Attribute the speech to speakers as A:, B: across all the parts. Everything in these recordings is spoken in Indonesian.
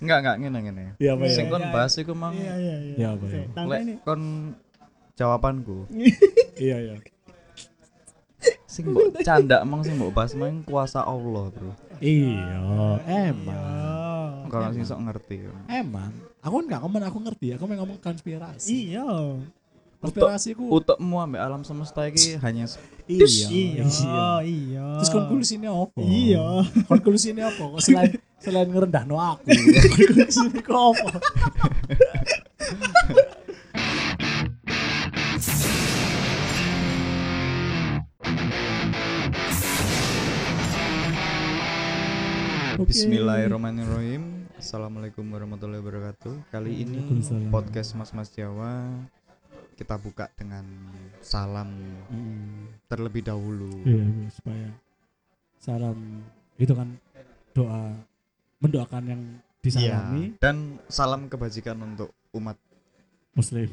A: Enggak, enggak ngene ngene.
B: Iya, apa ya?
A: Sing kon
C: Iya,
A: bahas iku mang
C: Iya iya iya.
B: Ya, apa ya?
C: Sik,
A: lek
C: Tangkane
A: kon jawabanku.
B: Iya, iya.
A: Sing mbok canda mang sing mbok bahas mang kuasa Allah, Bro.
B: Iya, emang.
C: Oh,
A: Kalau sing sok ngerti.
B: Emang. Aku nggak ngomong aku ngerti, ya, aku mau ngomong konspirasi.
C: Iya.
B: Konspirasi ku.
A: Utekmu ambek alam semesta iki hanya se-
C: Iya. Iya.
B: Terus konklusinya apa?
C: Iya.
B: Konklusinya apa? Kok selain selain ngerendahno aku. Iya. konklusinya kok apa?
C: Oke.
A: Bismillahirrahmanirrahim. Assalamualaikum warahmatullahi wabarakatuh. Kali ini
B: Waalaikumsalam.
A: podcast Mas Mas Jawa kita buka dengan salam terlebih dahulu.
B: Hmm. Iya, supaya salam itu kan doa mendoakan yang disalami
A: Iya. Dan salam kebajikan untuk umat
B: muslim.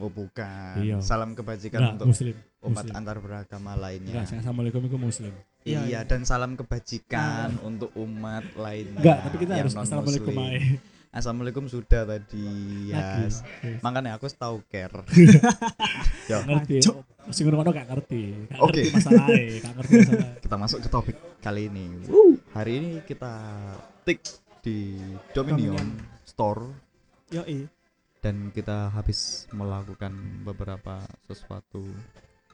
A: Oh bukan.
B: Iya.
A: Salam kebajikan
B: Enggak,
A: untuk Iya.
B: muslim.
A: umat
B: muslim.
A: antar beragama
B: Iya Enggak,
A: lainnya.
B: saya assalamualaikum itu muslim.
A: iya, dan salam kebajikan untuk umat lainnya.
B: Iya. Enggak, tapi kita
A: yang
B: harus
A: non-muslim.
B: assalamualaikum aja.
A: Assalamualaikum sudah tadi. Ya.
B: Lagi. Yes.
A: Makanya aku tahu care. ya,
B: ngerti. Sing ngono gak ngerti. Gak
A: Oke.
B: ngerti masalahnya, gak ngerti masalah.
A: kita masuk ke topik kali ini.
C: Uh.
A: Hari ini kita tik di Dominion,
C: Dominion.
A: Store
C: Yo i.
A: dan kita habis melakukan beberapa sesuatu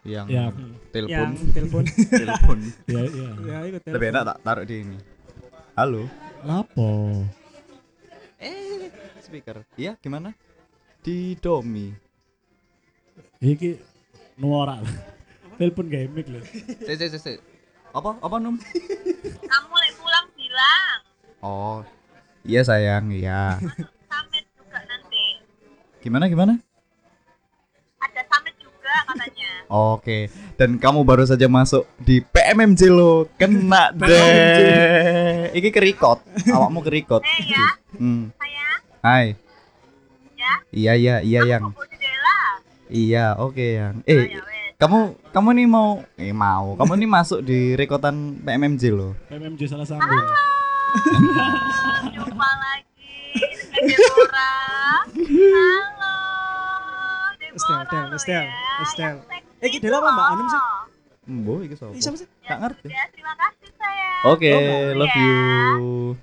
A: yang
B: Ya,
A: telepon
C: Yang telepon.
A: telepon
B: ya, ya.
C: Ya ikut telepon.
A: lebih enak tak taruh di ini halo
B: Lapo?
A: Eh, speaker. Iya, gimana? Di Domi.
B: Iki nuora lah. Telepon gaming lho.
A: Cek, cek, cek, cek. Apa? Apa, Num?
D: kamu lagi pulang bilang
A: Oh. Iya, sayang, iya.
D: summit juga nanti
A: Gimana, gimana?
D: ada summit juga katanya
A: Oke. Dan kamu baru saja masuk di PMMJ lo. Kena deh. Iki kerikot. Awakmu kerikot.
D: eh ya
A: Hmm.
D: saya
A: Hai.
D: Ya?
A: Iya, iya, iya, yang.
D: aku bobo jendela
A: Iya, oke, yang. Eh,
D: Oh, ya wes
A: kamu kamu nih mau eh mau. Kamu nih masuk di rekotan PMMJ lo.
B: PMMJ salah sambung.
D: jumpa lagi dengan Deborah halo
C: Estel, Estel,
D: Deborah lo
C: Estel,
D: ya,
C: Estel.
D: yang seksi
C: Eh, Dela apa,
D: itu
C: Mbak
D: loh.
C: Anum, sih?
A: Mbo, iki sapa?
C: Ih, siapa sih?
A: Gak ngerti. iya.
D: ya terima kasih sayang
A: Oke,
D: Oh,
A: love
D: ya.
A: you.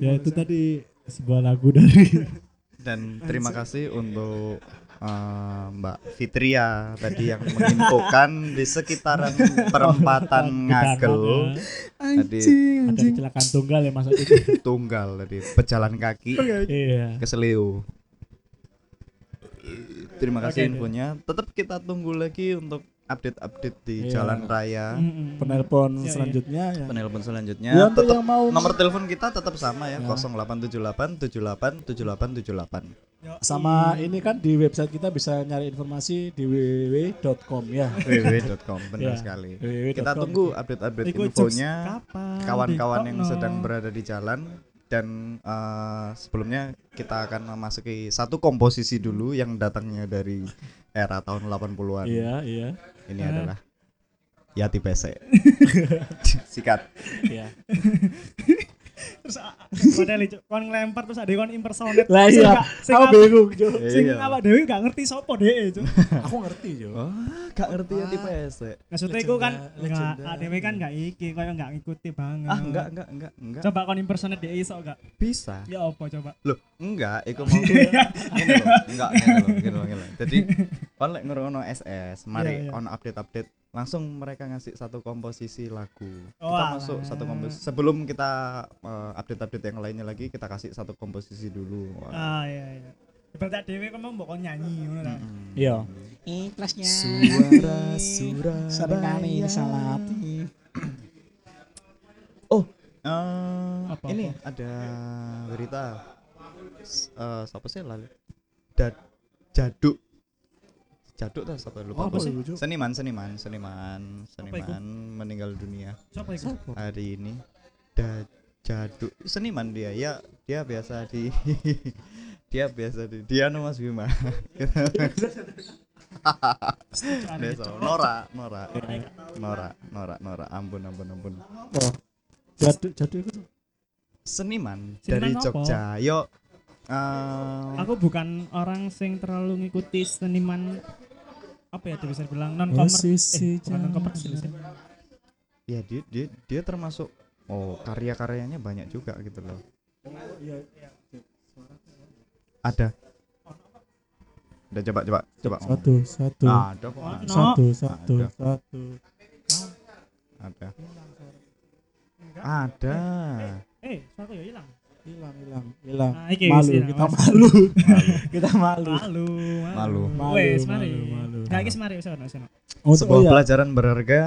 B: Ya itu tadi sebuah lagu dari
A: Dan terima kasih untuk eh, Mbak Fitria tadi yang menginfokan di sekitaran perempatan Ngagel
B: ya. Ada
C: Anjing, anjing.
B: kecelakaan tunggal ya Mas Adi.
A: tunggal tadi pejalan kaki
B: Iya.
A: ke Seleo. Terima
B: Oke,
A: kasih
B: oke.
A: infonya. Tetap kita tunggu lagi untuk update-update di
B: Iya.
A: jalan raya.
B: Penelpon
C: Iya, iya.
B: selanjutnya ya.
A: Penelpon selanjutnya
B: Ya, untuk
A: tetap
B: yang mau
A: nomor telepon kita tetap sama Iya, ya,
B: Ya.
A: 0878 78 78 78.
B: sama ini kan di website kita bisa nyari informasi di www.com ya.
A: www.com benar
B: Ya,
A: sekali.
B: www.com.
A: Kita tunggu update-update
C: Iku iya. jokes
A: infonya
C: kapan?
A: kawan-kawan yang
C: Ditokno.
A: sedang berada di jalan dan eh, sebelumnya kita akan memasuki satu komposisi dulu yang datangnya dari era tahun 80-an.
B: Iya, iya.
A: Ini adalah Yati Pesek. Sikat.
B: Iya.
C: Terus ah, a- a- padahal itu kon ngelempar terus ada kon impersonate.
B: Lah
C: Sing
B: iya,
C: gak- sing
B: aku
C: apa-
B: bingung, Cuk.
C: Sing
A: Iya.
C: awak dhewe gak ngerti sapa dhek, Cuk.
B: Aku ngerti, Cuk.
A: Wah, gak ngerti Yati Pesek.
C: Maksudnya iku kan
B: Legenda,
C: enggak dhewe kan gak iki, koyo gak ngikuti banget.
A: Ah, enggak, enggak, enggak, enggak.
C: Coba kon impersonate dhek iso gak?
A: Bisa.
C: Ya apa coba?
A: Loh, enggak, iku mau ngene lho. Enggak, ngene lho, ngene lho, ngene lho. Jadi kon lek ngrungokno SS, mari
C: Iya, iya.
A: on update-update langsung mereka ngasih satu komposisi lagu.
C: Oh,
A: kita
C: alah.
A: masuk satu komposisi. Sebelum kita eh, update-update yang lainnya lagi, kita kasih satu komposisi dulu. Wah.
C: Ah iya iya. Berarti ada dhewe kon mau mbok kon nyanyi ngono ta.
B: Iya.
E: Ikhlasnya
A: Suara Surabaya.
E: seringkali disalati
A: Oh, eh,
C: Apa,
A: ini ada berita. S- eh, siapa sih lalu? Da- jaduk. Jaduk tuh siapa lupa.
B: Oh, apa
A: aku.
B: sih, Juk?
A: Seniman, seniman, seniman, seniman meninggal dunia
C: Sapa iku?
A: hari ini. Da- jaduk seniman dia ya dia biasa di dia biasa di dia no Mas Bima Gitu.
C: ya?
A: Desa. Nora Nora Nora Nora Nora ampun ampun ampun
B: Jadu, jadu itu.
A: Seniman,
C: Seniman
A: dari
C: apa?
A: Jogja. Yo eh,
C: Aku bukan orang sing terlalu ngikuti seniman apa ya bisa bilang non
B: Oh,
C: komer
B: sisi
C: eh, bukan non komersil sih.
A: ya dia dia dia termasuk oh karya-karyanya banyak juga gitu loh. Ada. Udah coba coba coba. ngomong.
B: Satu, satu,
A: Ada kok.
C: Ono.
B: satu, satu,
A: Ada.
B: satu.
A: Ada. Ada.
C: Eh, suaraku ya hilang.
B: Hilang, hilang, hilang.
C: Nah, iki
B: Oh, malu,
C: wis hilang,
B: kita
C: Mas.
B: malu. kita malu.
C: Malu.
A: Malu.
B: Malu,
C: Wes,
B: malu,
C: mari.
B: malu.
C: Nah, iki mari wis ono wis ono.
B: Oh,
A: Sebuah
B: iya.
A: pelajaran berharga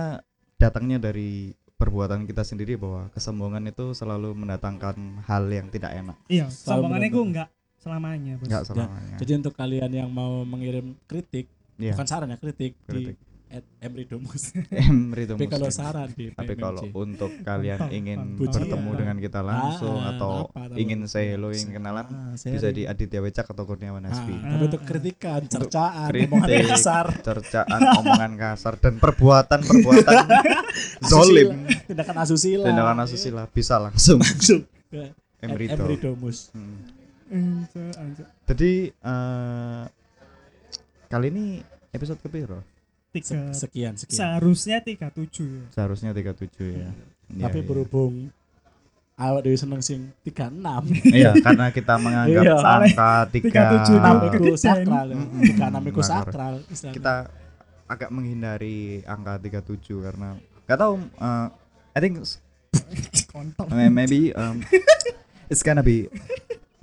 A: datangnya dari perbuatan kita sendiri bahwa kesombongan itu selalu mendatangkan hal yang tidak enak.
C: Iya,
B: Selalu
C: sombongane ku
B: menentukan.
C: enggak selamanya, Bos.
A: Enggak selamanya.
B: Jadi untuk kalian yang mau mengirim kritik,
A: Iya.
B: bukan saran ya, kritik,
A: Kritik.
B: di at Emridomus.
A: Emri itu
B: Tapi kalau
A: muslim.
B: saran di
A: Tapi
B: PMMJ.
A: kalau untuk kalian
C: Pantang,
A: ingin
C: pantang.
A: bertemu
C: Pujian.
A: dengan kita langsung
B: ya. Ah,
A: atau
B: apa, atau
A: ingin say hello,
B: bisa-
A: ingin kenalan,
B: ah,
A: bisa
B: sharing.
A: di Aditya Wecak atau Kurniawan
B: Ah,
A: Hasbi.
B: tapi untuk kritikan, cercaan,
A: kritik.
B: omongan kasar,
A: Cercaan, omongan kasar dan perbuatan-perbuatan zolim,
B: asusila, tindakan asusila,
A: tindakan asusila bisa langsung
B: langsung ke
A: Emrito.
B: Emridomus.
A: Hmm.
C: Anjo, anjo.
A: Jadi eh, kali ini episode kepiro?
C: Tiga.
B: Sekian, sekian.
C: Seharusnya 37 ya.
A: Seharusnya 37 ya. Iya, iya.
B: tapi berhubung awak dewi seneng sing 36
A: Iya, karena kita menganggap
B: Iya.
A: angka
C: 37
B: enam
A: 3
B: iku sakral
A: Mm-mm.
B: 36 iku
A: Makar.
B: sakral istilahnya.
A: kita agak menghindari angka 37 karena nggak tahu uh, I think s-
C: Kontol.
A: may- maybe um, it's gonna be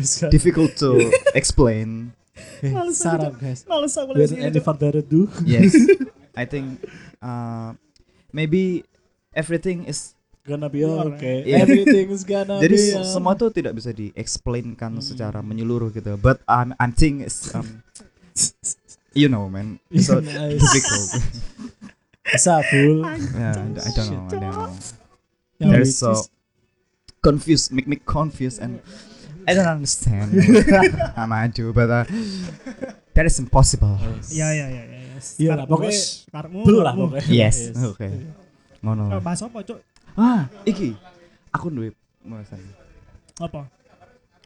B: Bisa.
A: difficult to explain
B: Eh,
C: Males aku
B: saran guys
C: Males aku lagi
B: without
C: ini,
B: any
C: Cuk.
B: further ado
A: yes I think uh, maybe everything is
B: gonna be okay
A: Iya.
B: everything's gonna
A: jadi
B: be
A: se-
B: all-
A: semua tuh tidak bisa di-explainkan secara menyeluruh gitu but um, I think it's um, you know man it's so
B: Nice.
A: difficult
B: bisa full
A: yeah, I don't know, I don't know.
B: Yang
A: There's
B: which
A: so
B: is-
A: confused, make me confused, and I don't understand. I might do, but uh, that is impossible.
C: Ya ya ya ya. ya.
B: Iya lah,
C: Karepmu,
B: pokoknya
C: Bos. karepmu.
B: full lah
C: karepmu.
B: pokoknya
A: Yes. Oke. Ngono.
C: Oh, Bahas apa, Cuk?
A: Ah, iki. Aku duwe pembahasan.
C: Apa?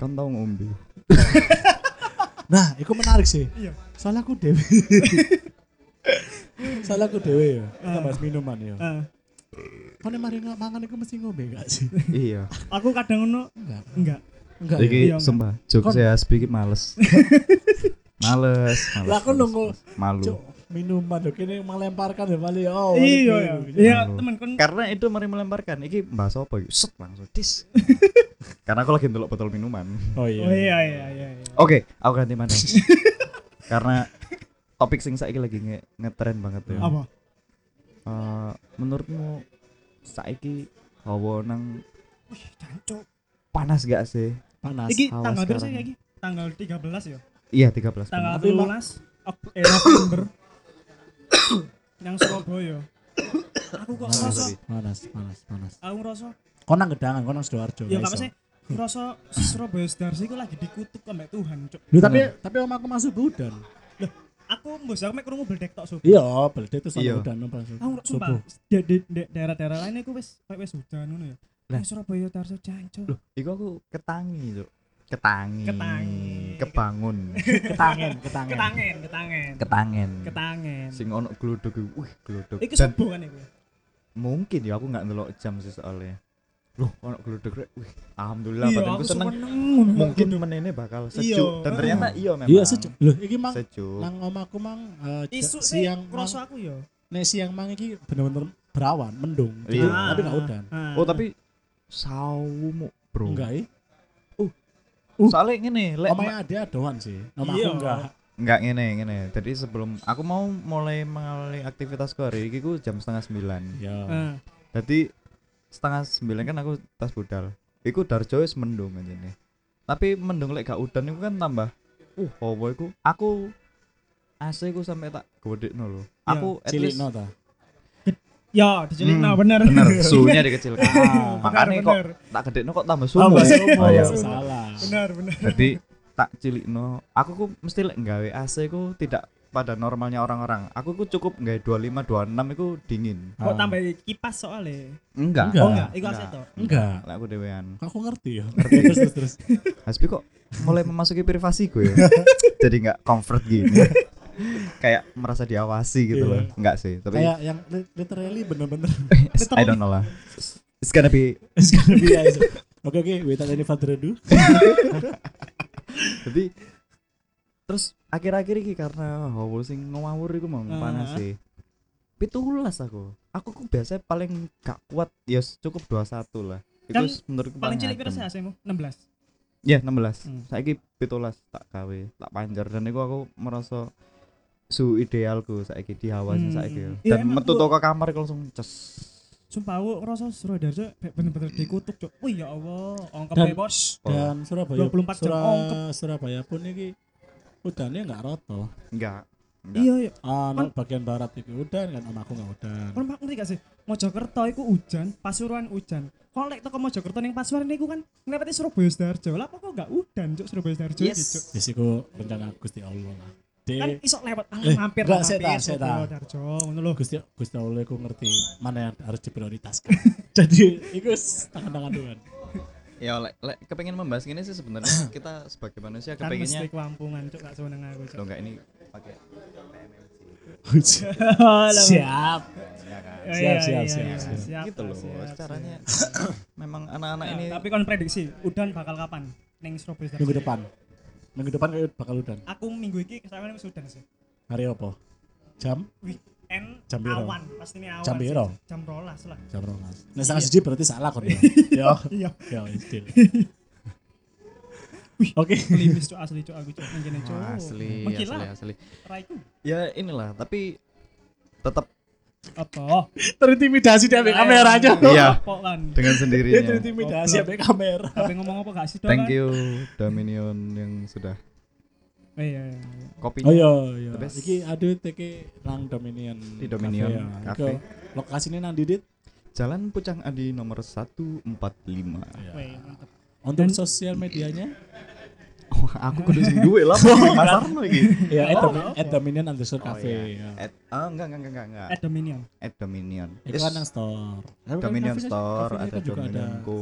A: Kan tau ngombe.
B: nah itu menarik sih
C: Iya.
B: soalnya aku dewi soalnya aku dewi ya kita bahas minuman ya
C: Eh,
B: kau nih mari nggak makan itu mesti ngombe gak sih
A: iya.
C: aku kadang ngono
B: enggak
C: enggak.
B: enggak ya?
A: Iki
C: Iya,
A: sumpah, jok
B: Kon-
A: saya sedikit males. males, males.
B: Lah, kon
A: males,
B: nunggu-
A: males. malu.
B: Cuk, minuman dok ini melemparkan ya Bali oh
C: Iya ya.
B: waduh.
C: Iya,
A: Malu.
C: temen kon
A: Karena itu mari melemparkan. Iki bahas apa yuk? Set langsung tis. Karena aku lagi ndelok botol minuman.
B: oh iya
C: Oh iya iya iya. iya.
A: Oke, aku ganti mana? Karena topik sing saiki lagi nge ngetren banget ya.
C: Apa?
A: Eh, menurutmu saiki hawa nang
C: Cancuk.
A: panas gak sih?
B: panas
C: Iki
A: awas
C: tanggal berapa sih
A: sekarang.
C: iki? Tanggal 13 ya.
A: Iya 13
C: Tanggal
A: bener.
B: Tapi, Pak.
C: 13 Ok- eh, November. Yang Surabaya. Aku kok
A: Sorry,
C: ngerasa
A: sorry.
B: panas panas panas
C: aku ngerasa
B: konang gedangan konang sidoarjo
C: ya
B: nggak
C: gak sih
B: iso.
C: ngerasa Surabaya Sidoarjo iku lagi dikutuk sama Tuhan, Cuk.
B: Duh, tapi tapi om aku masuk budan
C: Aku mbos aku mek krungu bledek tok Sob.
B: iya beledek terus
A: Iya.
B: sama budan om pas
C: Aku nggak- sumpah
B: subuh
C: di, di- di daerah-daerah lain aku wis kayak wis hujan ngono ya.
A: Lah.
C: Nah, Surabaya Tarso jancuk.
A: Loh, iku aku ketangi, Cuk. Ketangi.
C: Ketangi.
A: Kebangun.
B: ketangen ketangen
C: Ketangen, ketangen.
A: Ketangen.
C: Ketangen.
A: Sing ono glodok iku, wih glodok.
C: Iku
A: Dan
C: subuh kan iku.
A: mungkin ya aku nggak ndelok jam sih soalnya. Loh, ono glodok rek. Wih, alhamdulillah
C: Iya,
A: badanku
C: aku
A: seneng.
C: seneng ngono.
A: Mungkin menene bakal sejuk
C: Iya.
A: dan ternyata iya memang.
B: iya sejuk loh iki mang
A: Sejuk.
B: nang om aku mang eh, ja-
C: Isu
B: siang
C: siang
B: mang
C: kroso aku ya.
B: nek siang mang iki bener-bener berawan mendung
A: Iya.
B: Jadi, tapi nggak udan
A: Oh tapi sawumu bro.
B: enggak ya Uh.
A: Soalnya ngene, lek
B: omanya ada adoan sih om aku
C: Iya.
B: enggak
A: enggak ngene ngene. Jadi sebelum aku mau mulai mengawali aktivitasku hari ini ku jam setengah sembilan.
B: iya
C: Ah,
A: Jadi setengah sembilan kan aku tas budal. Iku darjo wis mendung aja nih. Tapi mendung lek gak udan iku kan tambah. Uh, hawa iku aku AC ku sampe tak godekno lho.
C: Iya,
A: Aku at least
B: cilikno ta
C: ya dicelik nah
A: Hmm,
C: bener.
A: bener suhunya dikecilkan.
B: Ah,
A: Makanya kok
C: bener.
A: tak gedekno kok tambah
C: Oh,
A: suhu. Iya.
B: Tambah sopo,
A: Ayo.
B: salah
C: Bener bener.
A: jadi tak cilikno aku ku mesti lek nggawe AC ku tidak pada normalnya orang-orang. Aku ku cukup nggak 25 26 iku dingin.
C: Kok
B: Ah.
C: tambah kipas soalnya?
A: Enggak.
B: Enggak.
C: Oh enggak, iku
A: Enggak.
C: asli toh.
B: Enggak.
A: Lah aku dewean.
B: Aku ngerti ya. Ngerti terus terus terus.
A: Hasbi kok mulai memasuki privasi gue ya. Jadi nggak comfort gini. Kayak merasa diawasi gitu
B: Iya.
A: loh. Enggak sih, tapi
B: Kayak yang li- literally bener-bener.
A: I don't know lah. It's gonna be
B: It's gonna be nice. Oke oke, without any further ado.
A: jadi terus akhir-akhir ini karena hawa sing ngawur iku mau
C: Ah.
A: panas sih. Pitulas aku. Aku ku biasanya paling gak kuat ya cukup 21 lah. Itu
C: Kan
A: menurutku
C: Paling cilik
A: adem.
C: pira sih aslimu? 16.
A: Ya, 16.
C: Hmm.
A: Saiki 17 tak gawe, tak panjer dan iku aku merasa su idealku saiki di hawa sing
C: Hmm.
A: saiki. Dan
C: Ya, emang
A: metu
C: gua-
A: toko kamar iku langsung ces.
C: Sumpah aku ngerasa Surabaya bener-bener dikutuk, Cuk. Oh ya Allah, ongkep
B: Dan-
C: ya, Bos.
A: Oh,
B: Dan Surabaya
C: 24 jam
B: Sura-
C: ongkep.
B: Surabaya pun ini udannya nggak roto.
A: Enggak. Enggak.
C: Iya, iya.
B: Ah, no,
C: Kan-
B: bagian barat itu udan kan sama aku nggak udan.
C: Kon ngerti gak sih? Mojokerto iku hujan, Pasuruan hujan. Kon lek teko Mojokerto ning Pasuruan niku kan nglewati Surabaya Sidoarjo. Lah kok gak udan, Cuk, Surabaya Sidoarjo iki, Cuk.
B: Di siku rencana Gusti Allah lah. Di
C: Kan iso lewat alam hampir
B: Iya. Eh, enggak,
C: lah,
B: saya tak,
C: hampir
B: saya tak.
C: Surabaya Sidoarjo ngono lho. kan
B: Gusti Gusti Allah aku ngerti mana yang harus diprioritaskan. Jadi itu tangan-tangan Tuhan.
A: Ya lek lek kepengen membahas ini sih sebenarnya kita sebagai manusia
C: Kan
A: kepengennya
C: mesti kampungan, Cuk, gak seneng aku, Cuk.
A: lo enggak ini pakai
B: siap.
C: Oh,
B: siap,
C: Iya, iya,
B: siap,
C: iya,
B: siap.
C: siap,
A: gitu loh
C: siap,
A: caranya
C: siap.
A: memang anak-anak ini
C: Nah, Tapi kon prediksi udan bakal kapan? Ning Surabaya
B: Minggu
C: Sidoarjo.
B: depan. Minggu depan kayak bakal udan.
C: Aku minggu iki kesalahan wis udan sih.
B: Hari apa? Jam?
C: Weekend
B: Jam piro?
C: awan, pasti ini awan.
B: Jam
C: sih,
B: piro?
C: Cuk. Jam rolas lah.
B: Jam rolas. Nah, setengah siji berarti salah kok ya. Yo.
C: Iya.
B: Yo, itu.
C: Wih.
B: Oke.
C: Klimis cok asli cok aku cok ngene cok.
A: asli
C: Mengkilat.
A: asli asli
C: Raiku.
A: ya inilah tapi tetap
C: Apa?
B: Terintimidasi dia ambil kamera aja.
A: Iya. Oh,
C: Apa kan?
A: dengan
B: Dia
A: sendirinya
B: terintimidasi ambil kamera.
C: Tapi ngomong apa gak sih dong?
A: thank
C: kan?
A: you Dominion yang sudah
C: Eh, Iya iya. iya.
A: kopinya
B: Oh iya, iya.
A: The best.
B: Iki aduh teki nang Dominion.
A: Di Dominion
B: Cafe ya.
A: Cafe.
B: Iku Lokasinya nang Didit.
A: Jalan Pucang Adi nomor 145
B: Iya.
C: Weh, mantep.
B: Untuk sosial medianya
A: Wah aku kudu sing duwe lah pasarno iki
B: ya at,
C: Oh,
B: Domi-
C: apa?
B: at Dominion underscore
A: Oh,
B: cafe. ya.
A: at ah, enggak enggak enggak enggak
C: Eh Dominion.
A: at Dominion
B: Itu
A: Yes,
B: kan nang store. Tapi kan
A: Dominion
B: cafe-nya-
A: Store
B: cafe-nya
A: ada
B: kan juga
A: Dominion Co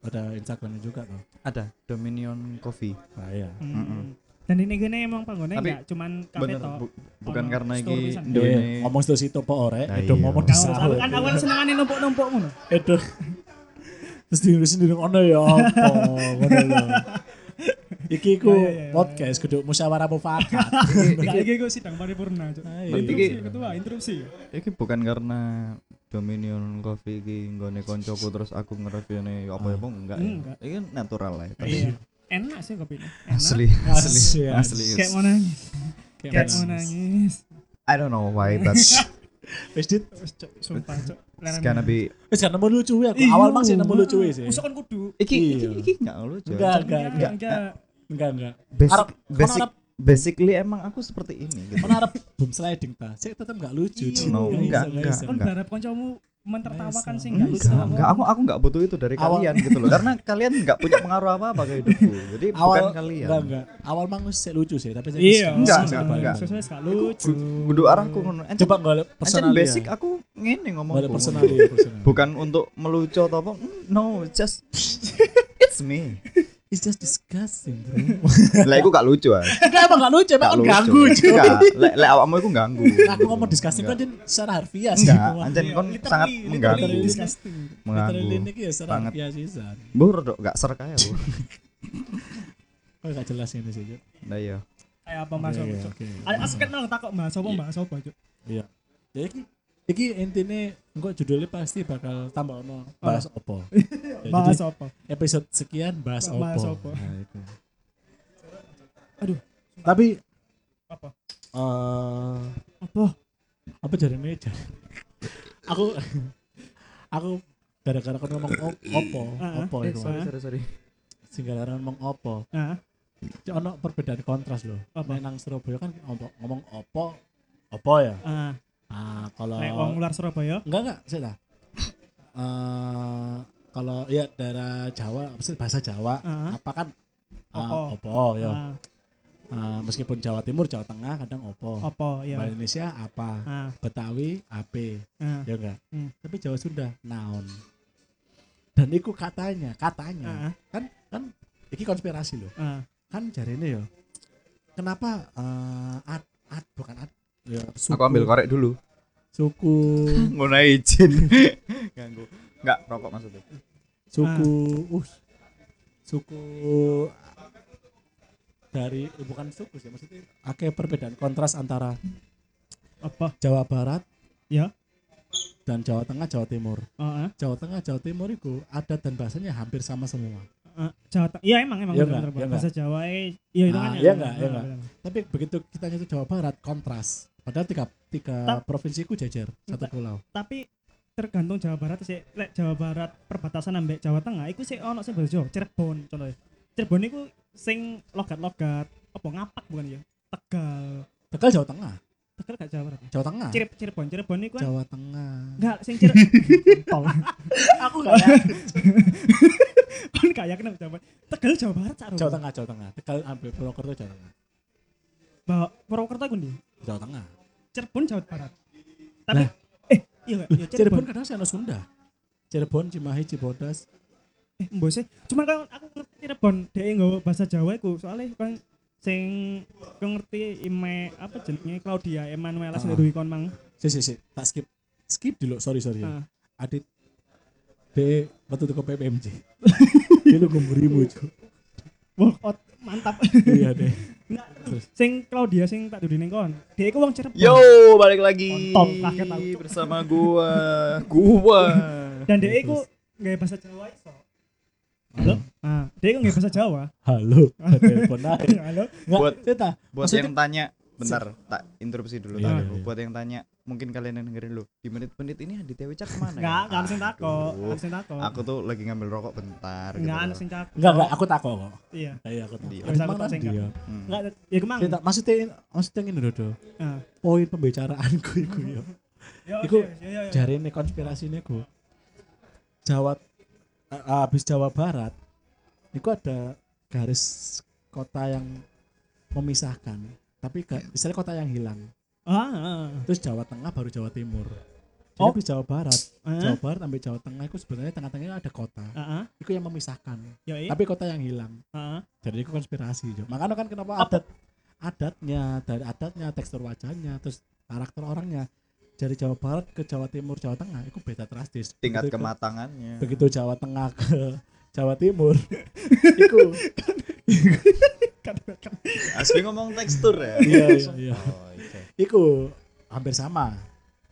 B: Ada, ada Instagramnya juga tuh.
A: ada Dominion Coffee
B: Nah, iya.
C: Hmm.
A: Mm-mm.
C: Dan ini gini emang panggonnya
A: Tapi,
C: enggak cuman kafe
A: bener
C: tok.
A: bu- bukan
C: Ono
A: karena
C: store
A: iki
C: pisan.
A: Indomie
B: Iya, ngomong situ situ po ore,
A: Nah,
B: Edo
A: iya.
B: ngomong di
C: Kau aku
B: sahur.
C: kan aku kan senengane numpuk-numpuk ngono.
B: Edo. Terus diurusin di ono ya apa ngono lho. Iki ku
C: Iya, iya, iya.
B: podcast kudu musyawarah mufakat.
A: Iya.
C: Nah, iki iku sidang paripurna cok.
B: Ah,
C: Nah,
B: iya.
A: Nanti
C: Interupsi
A: ki-
C: ketua, interupsi.
A: Iya. Iki bukan karena Dominion Coffee iki nggone koncoku terus aku ngereviewne ya apa-apa enggak. ya.
C: Enggak.
A: Iki natural lah. ya, tapi
C: Iya. Enak sih kopinya. Enak.
A: Asli, asli,
B: Nah, Asli.
A: asli.
C: Kayak mau nangis.
B: iya.
C: Kayak mau nangis.
A: I don't know why but it's
B: Wis dit,
C: Wes, Cuk, sumpah cok.
A: gonna be
B: wis gak nemu lucu ya. Aku awal mang sih nemu lucu ya. sih.
C: Usah kon kan kudu.
A: iki iki
B: Iya.
A: iki enggak lucu.
B: Enggak, enggak,
C: Enggak,
B: enggak,
C: enggak.
B: enggak, enggak.
A: Basic
B: Arab- kon
A: basic
B: Arab-
A: basically emang aku seperti ini gitu.
B: Ono arep boom sliding ta. Sik tetep enggak lucu.
C: Iya,
B: Cuk.
A: no,
B: Nggak
A: enggak,
B: iso,
A: enggak.
B: iso.
C: Kon Kan berharap kancamu mentertawakan
B: Nggak
C: sih
B: iso.
C: enggak lucu.
A: Enggak, enggak aku aku enggak butuh itu dari
B: Awal-
A: kalian gitu loh. Karena kalian enggak punya pengaruh apa-apa ke hidupku. Jadi bukan
B: Awal
A: kalian.
B: enggak, enggak. Awal mang wis sik lucu sih, tapi sik
C: Iya,
B: wis-
A: Enggak,
B: wis
A: enggak,
B: kebayang.
A: enggak.
C: Sesuai enggak lucu.
A: Kudu arahku ngono. Encen-
B: Coba golek
A: encen
B: personal.
A: basic aku ngene ngomongku.
B: golek personal ya, personal.
A: bukan untuk melucu atau apa Mm, no it's just it's me
B: It's just disgusting, bro.
A: lah aku gak lucu ah
B: Enggak emang gak lucu,
A: gak
B: emang kon
A: lucu
B: ganggu juga.
A: enggak lek lek awakmu aku ganggu
B: Aku ngomong disgusting kan jen secara harfiah sih.
A: enggak anjen
B: kan
A: kon
C: Literally,
A: sangat
C: literally
A: mengganggu
C: disgusting.
B: Literally ini
A: mengganggu
B: ki ya secara
A: Banget.
B: harfiah sih Zan.
A: bur dok gak serk aja bu
B: Kok gak jelas ini sih. Cuk?
A: nah iya
C: Kayak apa Mas
B: Oke,
C: Opo, Cuk?
B: oke.
C: Ada aku kenal takok Mas Opo, Mas Opo, Cuk.
B: Iya. Ya iki iki intine engko judulnya pasti bakal tambah ono bahas opo. Ya,
C: Mas
B: jadi
C: Opo.
B: episode sekian bahas opo.
C: Bahas opo.
B: Nah, itu.
C: Aduh,
B: Tapi
C: apa?
B: eh
C: Apa?
B: apa jarene jar. aku aku gara-gara kon ngomong o- opo,
C: Ah,
B: opo
A: eh,
B: itu.
A: sorry sorry sorry
B: Singgalaran ngomong opo.
C: Nah,
B: Cuk, ono perbedaan kontras loh.
C: Apa?
B: Nek nang Surabaya kan ngomong, ngomong opo opo ya.
C: ah,
B: Ah, kalau
C: nek wong luar Surabaya,
B: enggak enggak saya tahu. Eh, kalau ya daerah Jawa, apa sih, bahasa Jawa,
C: Ah.
B: apa kan ah,
C: Opo.
B: opo ya.
C: ah,
B: Eh, meskipun Jawa Timur, Jawa Tengah kadang opo.
C: Apa ya?
B: Bahasa Indonesia apa?
C: Ah,
B: Betawi AP,
C: ah,
B: ya enggak?
C: Hmm.
B: Tapi Jawa Sunda naon. Dan iku katanya, katanya.
C: ah,
B: Kan kan iki konspirasi loh.
C: ah.
B: Kan jarene ya. Kenapa eh ad, ad, bukan ad, ya,
A: Aku ambil korek dulu.
B: suku
A: Ngono ae izin. Ganggu. Enggak, rokok maksudnya.
B: suku
C: Ah.
B: uh, suku dari eh, bukan suku sih maksudnya akeh perbedaan kontras antara
C: Apa?
B: Jawa Barat
C: Ya.
B: dan Jawa Tengah Jawa Timur
C: Ah, ah,
B: Jawa Tengah Jawa Timur itu adat dan bahasanya hampir sama semua
C: ah. Jawa. Teng- Iya emang emang
B: Iya enggak?
C: bener, bener,
B: Iya
C: bahasa Jawa eh iya itu
B: Ah,
C: kan.
B: iya enggak?
C: ya, bener,
B: Iya
C: bener,
B: enggak?
C: bener.
B: tapi begitu kita itu Jawa Barat kontras padahal tiga tiga
C: Ta-
B: provinsi ku jajar satu
C: Enggak.
B: pulau
C: Tapi tergantung Jawa Barat sih. Lek Jawa Barat perbatasan ambek Jawa Tengah iku sih ono sing bahasa Jawa, Cirebon contohnya. Cirebon iku sing logat-logat apa ngapak bukan ya? Tegal.
B: Tegal Jawa Tengah
C: Tegal gak Jawa Barat.
B: Jawa Tengah
C: Cireb Cirebon, Cirebon iku kan
B: Jawa Tengah
C: Enggak, sing cire. Tol.
B: aku gak yakin
C: Kan gak yakin aku Jawa Barat. Tegal Jawa Barat sak
B: Jawa Tengah Jawa Tengah Tegal ambil Purwokerto Jawa Tengah
C: Bawa Purwokerto iku ndi?
B: Jawa Tengah
C: Cirebon Jawa Barat. Tapi
B: Lah.
C: eh iya enggak? Iya
B: Cirebon
C: Cirebon.
B: kadang sih ana Sunda Cirebon Cimahi Cibodas
C: Eh
B: Hmm.
C: mbok sih. Cuman kan aku ngerti Cirebon dhek nggawa bahasa Jawa iku soalnya kan sing aku ngerti Ime apa jenenge Claudia Emanuela sing
B: Ah.
C: duwe kon mang.
B: si si si tak skip skip dulu sorry sorry ya.
C: Ah.
B: Adit de waktu itu ke PPMJ dulu gumburimu cu
C: Workout mantap.
B: iya deh
C: Nah,
B: Terus.
C: sing Claudia sing tak dudu ning kon. Dhek iku wong Cirebon.
A: Yo, balik lagi.
C: Kontol, kaget aku.
A: Bersama gua. Gua.
C: Dan dhek iku nggawe bahasa Jawa iso. Halo? Ah, dhek iku nggawe bahasa Jawa.
B: halo telepon aja
C: Halo.
B: buat
A: Buat-
B: kita
A: Buat
B: Maksudnya-
A: yang tanya, bentar, tak interupsi dulu.
B: Iya,
A: tak
B: iya, iya.
A: Buat yang tanya, mungkin kalian yang dengerin dulu. Di menit-menit ini Aditya Wicak kemana? ya?
C: Enggak, enggak mesti takut,
A: Aduh,
C: enggak mesti takut.
A: Aku tuh lagi ngambil rokok bentar.
C: enggak
A: gitu.
C: mesti takut.
B: enggak enggak aku takut kok
C: Iya.
B: iya aku takut
A: Iya.
B: Adit
C: Aku
B: mana
C: takut,
B: dia
A: Hmm.
C: Enggak, ya kemang.
B: Tidak, maksudnya maksudnya ini dodo
C: Ah.
B: poin pembicaraanku itu ya
C: Yo,
B: Iku
C: yo, yo, yo, yo.
B: jari ini konspirasi ini gue Jawa eh, habis Jawa Barat itu ada garis kota yang memisahkan tapi ga, misalnya kota yang hilang
C: Ah, ah,
B: terus Jawa Tengah baru Jawa Timur jadi
C: Oh.
B: habis Jawa Barat
C: ah.
B: Jawa Barat sampai Jawa Tengah itu sebenarnya tengah-tengahnya ada kota
C: Ah, ah.
B: itu yang memisahkan
C: Yo, iya.
B: tapi kota yang hilang
C: Ah, ah.
B: jadi itu konspirasi Jo. makanya kan kenapa
C: Apa?
B: adat adatnya dari adatnya tekstur wajahnya terus karakter orangnya dari Jawa Barat ke Jawa Timur Jawa Tengah itu beda drastis
A: Tingkat
B: Begitu ke-
A: kematangannya.
B: begitu Jawa Tengah ke Jawa Timur itu
C: Kan,
A: Asli ngomong tekstur ya.
B: iya iya iya
A: Oh, oke.
B: itu hampir sama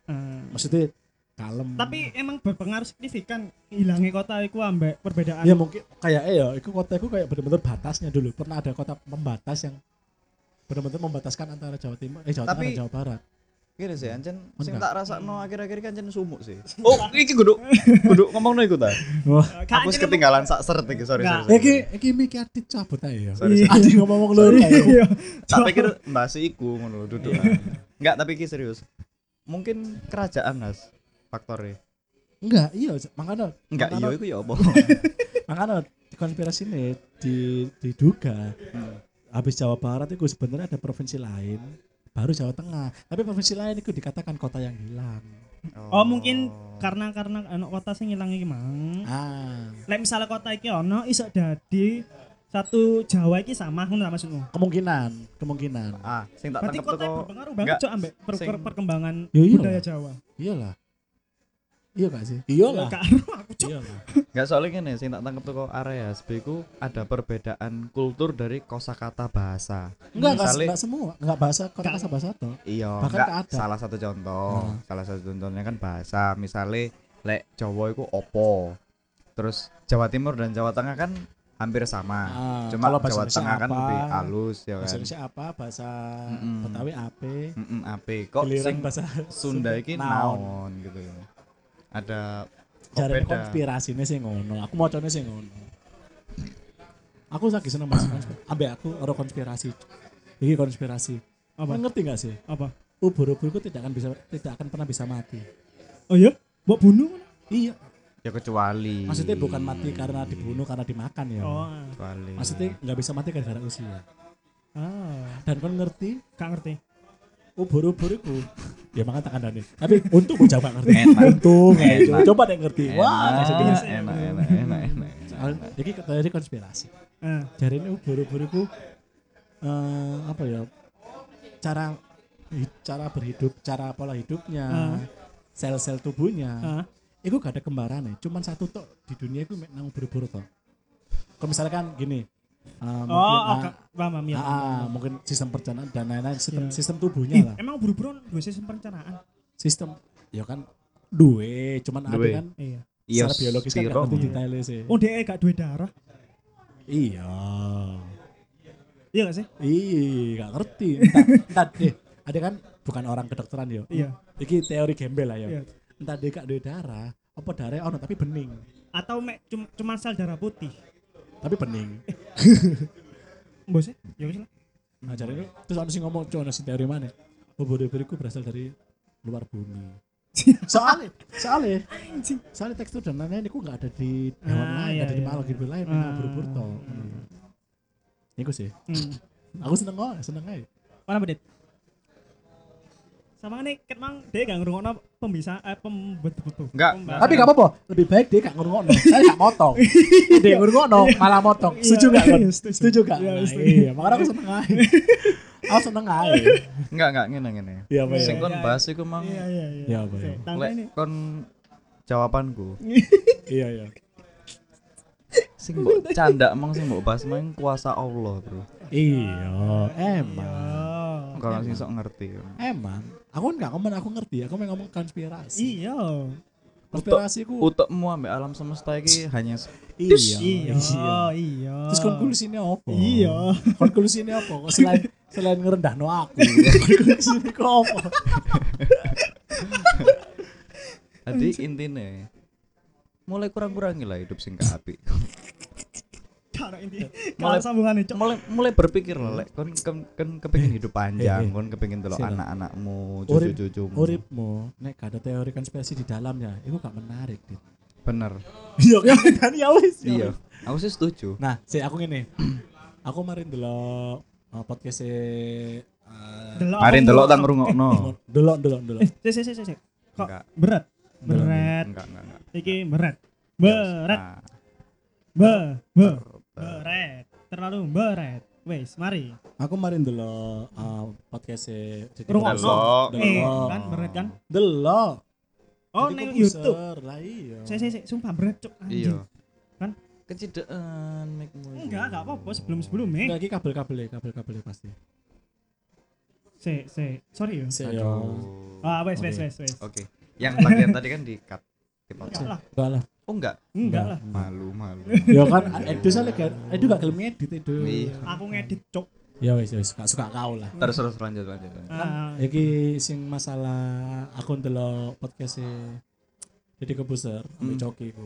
C: Ah.
B: maksudnya kalem
C: Tapi emang berpengaruh signifikan hilangnya kota iku ambek perbedaan.
B: ya mungkin kayak eh ya itu kota itu kayak bener-bener batasnya dulu pernah ada kota membatas yang bener-bener membataskan antara Jawa Timur eh Jawa
A: Tapi-
B: Tengah dan Jawa Barat
A: Gini Iya sih, Ancen sing
B: Enggak.
A: tak rasa no akhir-akhir kan Ancen sumuk sih. Oh, iki kudu kudu ngomong no iku ta.
B: wah
C: Kak,
A: Aku
C: ini
A: wis ketinggalan sak seret iki, sorry
C: Enggak.
A: sorry.
B: iki
A: sorry.
B: iki mikir adit cabut aja ya
A: Sorry, sorry.
B: Adi ngomong
C: emang-
B: lori aja
C: Iya.
A: Tak pikir bahas iku ngono lho duduk. Enggak, tapi iki serius. Mungkin kerajaan Mas faktornya.
B: enggak iya makanya
A: Enggak, iya
B: makanya,
A: iku ya apa?
B: makanya konspirasi ini di, diduga habis Jawa Barat itu sebenarnya ada provinsi lain baru Jawa Tengah tapi provinsi lain itu dikatakan kota yang hilang
C: Oh, mungkin karena karena anak kota sing ilang iki mang.
B: ah
C: Lek misalnya kota iki ono iso dadi satu Jawa iki sama ngono ta maksudmu?
B: kemungkinan kemungkinan
A: ah, sing tak
C: Berarti
A: tangkep
C: kota
A: toko
C: berpengaruh banget
A: enggak,
C: cok ambek per-
A: sing-
C: per- perkembangan
B: Ya iya.
C: budaya Jawa.
B: iyalah iya gak sih iyalah
C: Gak aruh aku cok.
B: iyalah
A: enggak soalnya ngene sing tak tangkep toko area SB ku ada perbedaan kultur dari kosakata bahasa.
B: enggak enggak
A: Misalnya-
B: enggak semua enggak bahasa kota bahasa bahasa toh
A: Iya,
B: Bahkan
A: enggak,
B: tak ada.
A: salah satu contoh.
B: Hmm.
A: Salah satu contohnya kan bahasa. Misalnya lek Jawa iku opo. Terus Jawa Timur dan Jawa Tengah kan hampir sama.
B: Ah,
A: Cuma
B: kalau
A: Jawa
B: bahasa Indonesia
A: Tengah kan
B: apa,
A: lebih halus ya
B: bahasa
A: kan.
B: Indonesia apa bahasa
A: Mm-mm.
B: Betawi apa
A: Mm ape kok
B: giliran
A: sing
B: bahasa
A: Sunda iki naon gitu. Ada kok
B: Jarene
A: beda.
B: konspirasinya sih ngono aku mau sih ngono aku lagi seneng mas ambil aku orang konspirasi ini konspirasi
C: Apa?
B: Kamu ngerti gak sih
C: Apa?
B: ubur-ubur itu tidak akan bisa tidak akan pernah bisa mati
C: Oh iya? Mbok bunuh? ngono?
B: iya
A: Ya kecuali.
B: maksudnya bukan mati karena dibunuh karena dimakan ya
C: Oh. ah.
A: Kecuali.
B: maksudnya nggak bisa mati gara-gara usia
C: Ah,
B: dan kon ngerti
C: gak ngerti.
B: ubur-ubur iku ya makanya tak kandani tapi untung gue jawab ngerti
A: Enak.
B: untung aja.
A: Enak.
B: coba deh ngerti wah
A: enak,
B: sedih.
A: enak, enak, enak, enak, enak, enak.
B: Soal- jadi teori konspirasi
C: Ah,
B: dari ini ubur-ubur iku eh, apa ya cara hi- cara berhidup cara pola hidupnya
C: Ah.
B: sel-sel tubuhnya
C: ah,
B: itu gak ada kembarannya cuman satu tok di dunia itu mek nang ubur-ubur tok kalau misalkan gini eh,
C: Oh,
B: mungkin,
C: oke.
B: ah,
C: Paham, paham, ya.
B: ah, ah, mungkin sistem perencanaan dan lain-lain sistem
C: Iya.
B: sistem tubuhnya
C: Ih,
B: lah
C: emang buru-buru dua sistem perencanaan.
B: sistem ya kan duwe cuman ada
A: Duwe.
B: kan
C: Iya.
B: secara biologis kan
A: spiro,
B: gak ngerti
A: iya.
B: detailnya sih
C: Oh, dia gak duwe darah.
B: iya
C: Iya gak sih?
B: Ih, gak ngerti. Entah, entah eh, ada kan bukan orang kedokteran yo.
C: Iya.
B: Iki teori gembel lah yo.
C: Iya.
B: Entah dia gak duwe darah, apa darahnya ono tapi bening.
C: Atau mek cum- cuma sel darah putih.
B: Tapi bening.
C: Mbok sih? Ya wis lah.
B: Nah, jarene terus ono sing ngomong cono si teori mana? Ubur-ubur iku berasal dari luar bumi. soalnya, soalnya,
C: Anjing.
B: soalnya tekstur dan lain-lain itu gak ada di hewan
C: Ah,
B: lain,
C: iya,
B: gak ada di
C: iya.
B: makhluk hidup lain,
C: Ah.
B: memang ubur-ubur toh. Iku sih,
C: Hmm.
B: aku seneng kok, seneng aja.
C: Mana bedet? Sama nih, ket mang dia gak ngerungokno pembisa eh pembetul.
A: Enggak,
C: Pembahasan.
B: Tapi gak apa-apa, lebih baik dia gak ngurungokno. Saya gak motong. dia ngurungokno malah motong.
C: Iya.
B: Setuju gak kan?
C: Iya, setuju.
B: Setuju gak?
C: Iya,
B: Nah,
C: setuju.
B: Iya, makanya aku seneng aja. Aku seneng aja.
A: enggak, enggak ngene ngene.
B: Iya, apa ya?
A: Sing kon
C: iya.
A: bahas iku mang
C: Iya, iya, iya.
B: Iya, apa ya?
C: Sik, tangga
A: lek
C: ini.
A: kon jawabanku.
B: Iya, iya.
A: Sing mbok canda mang sing mbok bahas mang kuasa Allah, Bro.
B: Iya, emang.
C: Oh.
A: Kalau sing sok ngerti.
B: Iya. Emang. Aku kan gak ngomong aku ngerti, aku mau ngomong konspirasi.
C: Iya.
B: Konspirasi ku.
A: Utekmu ambek alam semesta iki hanya se-
B: Iya,
C: Iya.
B: iya.
C: Iya.
B: Terus konklusinya apa?
C: Iya.
B: Konklusinya apa? Kok Selain selain ngerendah aku. konklusinya kok apa?
A: Jadi intinya mulai kurang-kurangi lah hidup sing gak apik.
C: Kalau ini
A: Mulai-
C: kalau sambungannya cok.
A: mulai mulai berpikir lah lek kon kon, kon kepengin hidup panjang,
B: eh.
A: kon kepengin delok
B: Sila.
A: anak-anakmu,
B: Urip-
A: cucu-cucumu.
B: Uripmu, nek gak ada teori konspirasi di dalamnya, itu gak menarik. Dit.
A: Bener.
B: Iya kan dan ya wis. ya
A: Iya.
B: wis.
A: Aku sih setuju.
B: Nah, si aku ngene. aku kemarin delok uh, podcast e
C: Delok
A: Mari
C: apa
A: delok
C: mulu?
A: ta ngrungokno.
B: delok delok delok.
C: Eh, sik sik sik sik. Kok
A: Enggak.
C: berat?
B: Delok.
C: Berat.
A: Enggak, enggak, enggak.
C: Iki berat.
A: Berat.
C: Berat. Be be berat. Terlalu berat. Wes, mari.
B: Aku kemarin delok uh, podcast e
A: Delok.
C: Rungokno. Eh,
B: Delok.
C: kan berat kan?
B: Delok.
C: Oh,
B: Oh. Jadi
C: neng
B: aku
C: YouTube.
B: puser, Lah iya.
C: Sik sik sik, sumpah berat cok.
A: Iya.
C: Anjing. Kan?
A: Kecidean mikmu. iku.
C: Enggak, enggak apa-apa eh. sebelum-sebelumnya.
B: Enggak iki kabel-kabel kabel-kabel pasti.
C: Sik sik. Sorry ya.
B: Sik yo.
A: Aduh.
C: Ah, wes
B: Oke.
C: wes wes wes.
A: Oke. Yang bagian tadi kan di-cut.
C: Enggak
A: Dipotong.
C: lah, Iya.
B: Enggak lah.
A: Oh, enggak.
C: enggak lah.
A: Malu, malu.
B: Ya kan Edu soalnya gak Edu gak gelem ngedit Edu.
A: Iya.
C: Aku ngedit cok.
B: Ya wis wis gak suka kau lah.
A: Terus terus lanjut lanjut. lanjut.
B: Kan?
C: Ah,
B: Iki sing masalah aku ndelok podcast Jadi Kebuser, ambil
A: Hmm.
B: Coki ku.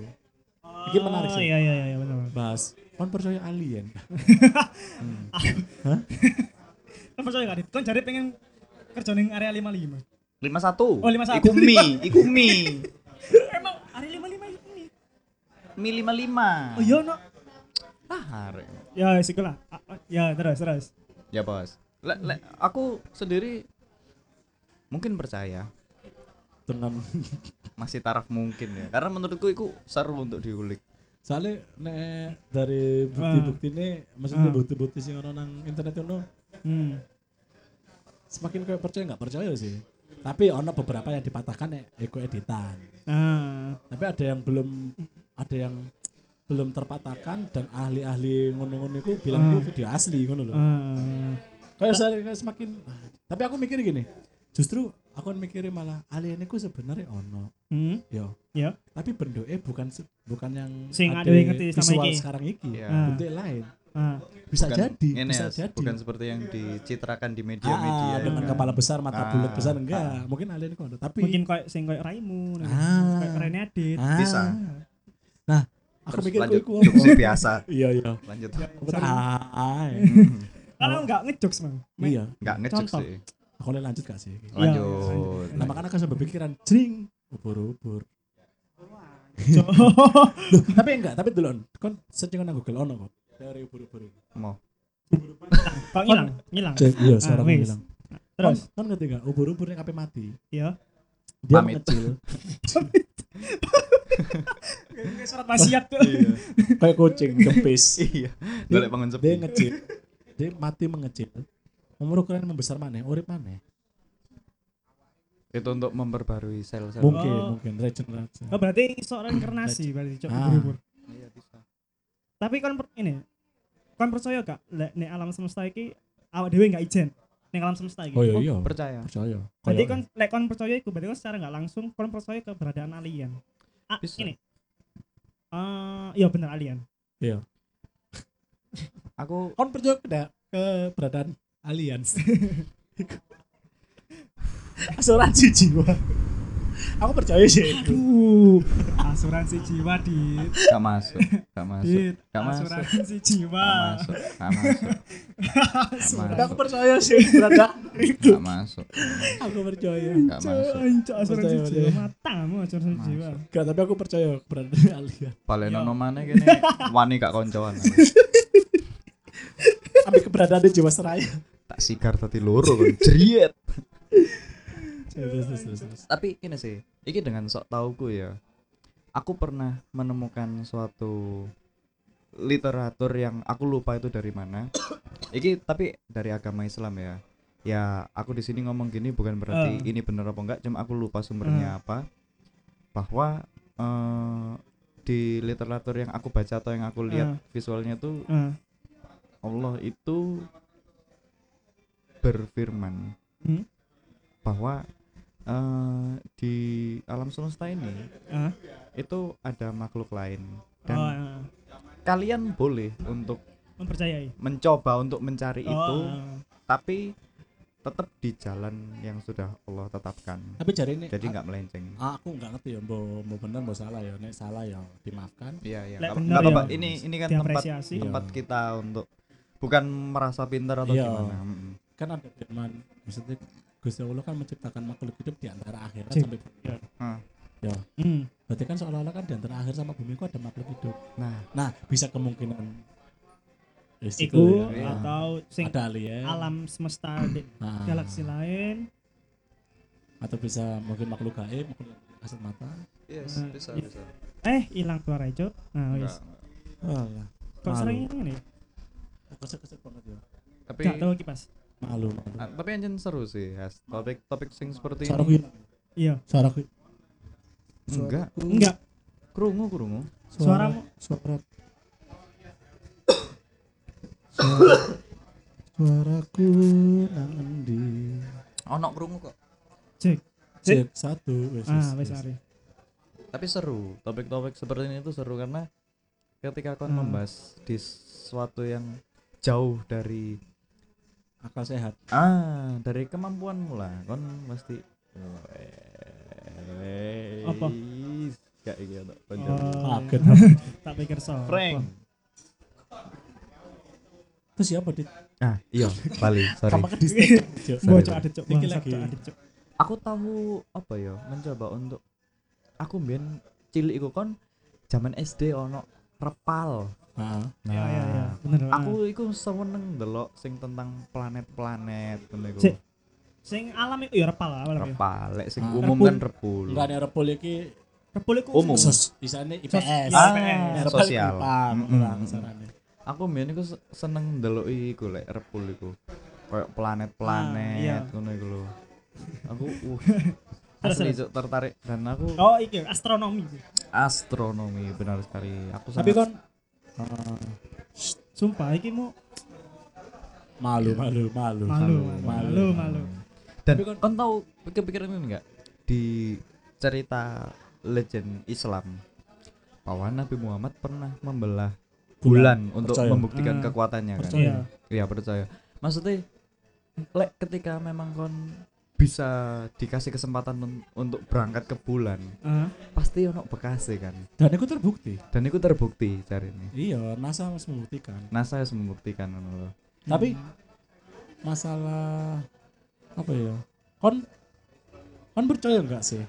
B: Iki menarik sih.
C: Iya iya iya benar.
B: Bahas, kon percaya alien?
C: Kan percaya enggak dit? Kan jare pengen kerja ning area 55.
A: 51.
C: Oh, 51.
A: Iku mie, iku mie.
C: Emang area 55 ini.
A: Mie 55.
C: Oh iya no.
A: Ah, arek.
C: Ya wis iku lah. Ah, ah, Ya terus terus.
A: Ya, Bos. Lek lek aku sendiri mungkin percaya
B: Dengan
A: masih taraf mungkin ya karena menurutku itu seru untuk diulik
B: soalnya nek dari bukti-bukti ini, maksudnya bukti-bukti sing ono nang internet ono
C: Hmm.
B: semakin kayak percaya nggak percaya sih. Tapi ono beberapa yang dipatahkan nek eko editan.
C: Ah,
B: Tapi ada yang belum ada yang belum terpatahkan dan ahli-ahli ngono-ngono itu bilang itu video asli ngono loh.
C: ah.
B: Kayak saya kayak semakin tapi aku mikir gini. Justru aku mikirnya malah alien itu sebenarnya ono.
C: Hmm.
B: Yo.
C: Ya.
B: Tapi bentuknya bukan se- bukan yang
C: Sing
B: ada
C: ada yang ngerti sama
B: visual
C: iki.
B: sekarang iki.
A: Iya.
C: Ah.
B: Bentuk lain.
C: Ah.
B: Bisa
A: Bukan-
B: jadi,
A: ini ya,
B: bisa jadi.
A: bukan seperti yang dicitrakan di media-media
B: Ah,
A: ya
B: dengan
A: kan?
B: kepala besar, mata
A: Ah.
B: bulat besar enggak. Mungkin alien itu ada, tapi
C: Mungkin kayak sing kayak Raimu, nah.
B: Ah.
C: kayak Rene Adit.
B: Ah.
A: Bisa.
B: Nah, aku
A: Terus
B: mikir
A: lanjut
B: iku
A: jokes biasa
B: Iya, iya.
A: lanjut
B: Ah, ah,
C: Kalau enggak ngejoks mang. Main-
B: iya.
A: nggak ngecek
C: Contoh.
A: sih
B: Aku boleh lanjut gak sih?
A: lanjut
B: Nah, makanya aku sampai pikiran, jring, ubur-ubur.
C: Cok.
B: tapi enggak, tapi dulu, kon searching nang Google ono kok. Teori ubur-ubur.
A: mau
C: Kok ngilang? Ngilang.
B: Cek, iya sekarang
C: wis.
B: hilang. Iya.
C: Terus,
B: kan, kan ketiga ubur-ubur yang kape mati.
C: ya.
B: Dia
A: Pamit.
B: mengecil
C: Kayak surat wasiat tuh.
A: iya
B: kayak kucing kempis.
A: iya golek pangan sepi
B: dia ngecil. Dia mati mengecil. Umur ukuran membesar mana? Urip mana?
A: itu untuk memperbarui sel sel
B: Mungkin,
C: Oh.
B: mungkin regenerasi.
C: Oh, berarti iso reinkarnasi berarti cok
B: Ah.
C: ubur-ubur.
A: iya bisa
C: Tapi kon per- ini. Kon percaya gak lek nek alam semesta iki awak dhewe gak ijen ning alam semesta iki.
B: Oh iya iya.
A: percaya
B: Percaya.
C: Berarti
B: Kayak-
C: kon lek kon percaya iku berarti kon secara gak langsung kon percaya keberadaan alien. Ah,
A: Bisa.
C: ini. Eh, iya bener alien.
A: aku
B: kon percaya tidak keberadaan aliens asuransi jiwa aku percaya sih itu
C: Aduh, asuransi jiwa dit,
A: gak masuk gak masuk
C: dit,
A: Gak masuk.
C: asuransi
A: gak
C: jiwa.
A: masuk gak masuk
C: Asuransi.
B: aku percaya sih keberadaan itu
A: gak masuk
B: aku percaya
A: gak masuk
C: Cok, asuransi
B: Percaya,
C: jiwa
B: percaya.
C: matamu asuransi
A: Masuk.
C: jiwa.
B: Gak, tapi aku percaya keberadaan alien
A: paling
C: Iya.
A: ono maneh kene wani gak koncoan
B: tapi keberadaan jiwa seraya
A: tak sigar tadi loro kon jeriet
B: terus terus terus, terus.
A: tapi ini sih ini dengan sok tauku ya aku pernah menemukan suatu literatur yang aku lupa itu dari mana ini tapi dari agama Islam ya ya aku di sini ngomong gini bukan berarti
C: Eh.
A: ini bener apa enggak cuma aku lupa sumbernya apa bahwa eh, di literatur yang aku baca atau yang aku lihat visualnya tuh
C: Ah,
A: Allah itu berfirman
C: Hmm?
A: bahwa eh, di alam semesta ini
C: ah.
A: itu ada makhluk lain dan
C: Oh, ah.
A: kalian boleh untuk
C: mempercayai.
A: mencoba untuk mencari
C: Oh,
A: itu
C: ah.
A: tapi tetap di jalan yang sudah Allah tetapkan
B: tapi jari ini
A: jadi nggak melenceng
B: a- aku nggak ngerti ya mau mau benar mau salah ya nek salah ya dimaafkan
A: iya iya nggak
C: Lek
A: apa-
C: bener
A: nggak apa-apa
B: ya.
A: ini ini kan tempat
C: diapresiasi.
B: Iya.
A: tempat kita untuk bukan merasa pintar atau
B: Iya.
A: gimana Mm-mm.
B: kan ada firman maksudnya Gusti Allah kan menciptakan makhluk hidup di antara akhirat
C: Cek.
B: sampai dunia.
C: Hmm.
B: Berarti kan seolah-olah kan di antara akhir sama bumi itu ada makhluk hidup.
A: nah
B: Nah, bisa kemungkinan Yes,
C: Iku
A: Iya.
B: ya.
C: atau sing
B: ada alien,
C: alam semesta di
B: nah,
C: galaksi lain.
B: atau bisa mungkin makhluk gaib, makhluk kasat mata.
A: yes
C: Nah,
A: bisa
C: iya.
A: bisa
C: Eh, hilang suara itu. Nah, wis.
A: Nggak- nggak.
B: Alah,
C: Kok
B: malu.
C: sering ini?
B: keset-keset banget ya.
A: tapi
C: Gak tahu kipas.
B: Malu. malu.
A: Ah, tapi anjir seru sih Has. topik-topik sing seperti
B: Suara
A: ini
B: aku hilang.
C: Iya.
B: Suara aku.
A: enggak
C: Enggak.
A: kerungu kerungu
B: Suara
C: Suaramu.
B: suara Suara- Suaraku nang endi?
A: ono kerungu kok
C: Cek. Cek.
B: Cek satu. wes, wes,
C: Ah, wis
B: wes.
C: mari.
A: tapi seru topik-topik seperti ini tuh seru karena ketika kau
C: Hmm.
A: membahas di sesuatu yang jauh dari
B: Akal sehat.
A: ah dari kemampuanmu lah kon pasti
C: Apa?
A: Wes, gak iki ono konco.
C: Oh,
B: Kaget.
C: tak pikir so.
A: Frank
B: Itu siapa dit?
A: ah iya Bali sorry
B: Kamu kan ke distrik. Cek.
C: Mbok
A: Sorry,
C: cok ada cok.
B: Iki
C: Wah,
B: lagi.
C: cok ada cok.
A: aku tahu apa ya mencoba untuk aku mbien cilik iku kon zaman SD ono repal Nah,
B: Ah.
C: Iya, iya, iya. Bener. ah.
A: aku iku seneng delok sing tentang planet-planet ngono iku
C: Sik. sing alam iku ya repal lah, alam ya.
A: repal lek sing
B: Ah.
A: umum
B: Repul.
A: kan repul
B: Enggak ada repol iki
C: Repul iku
A: Umum.
B: sos isane IPS.
C: Sos- iya.
A: ah,
C: IPS.
B: Nek repol
A: sosial
B: kurang,
A: Mm,
B: kurang
A: mm, mm.
B: sarannya.
A: aku mbien iku se- seneng delok iku lek repul iku kayak
C: iya.
A: planet-planet ngono iku lho aku uh,
C: Terus,
A: asli Cuk,
C: terus.
A: tertarik dan aku
C: Oh, iki astronomi.
A: astronomi benar sekali aku
B: Tapi
A: sangat-
B: kon
C: Ah. Sumpah iki mu
B: malu
A: Iya.
B: malu malu.
C: malu,
A: Malu,
C: malu, malu.
A: Dan kon tahu kepikiran ini enggak di cerita legend Islam bahwa Nabi Muhammad pernah membelah bulan untuk
B: Percaya.
A: membuktikan
C: Ah,
A: kekuatannya kan.
B: percaya.
C: Iya.
A: Iya percaya. Maksudnya lek ketika memang kon bisa dikasih kesempatan un- untuk berangkat ke bulan,
C: Ah,
A: pasti ono bekasnya kan.
B: Dan itu terbukti.
A: Dan itu terbukti cari ini.
B: Iya, NASA harus membuktikan.
A: NASA harus membuktikan ngono loh.
B: Tapi masalah apa ya? Kon kon percaya enggak sih?
A: Ya.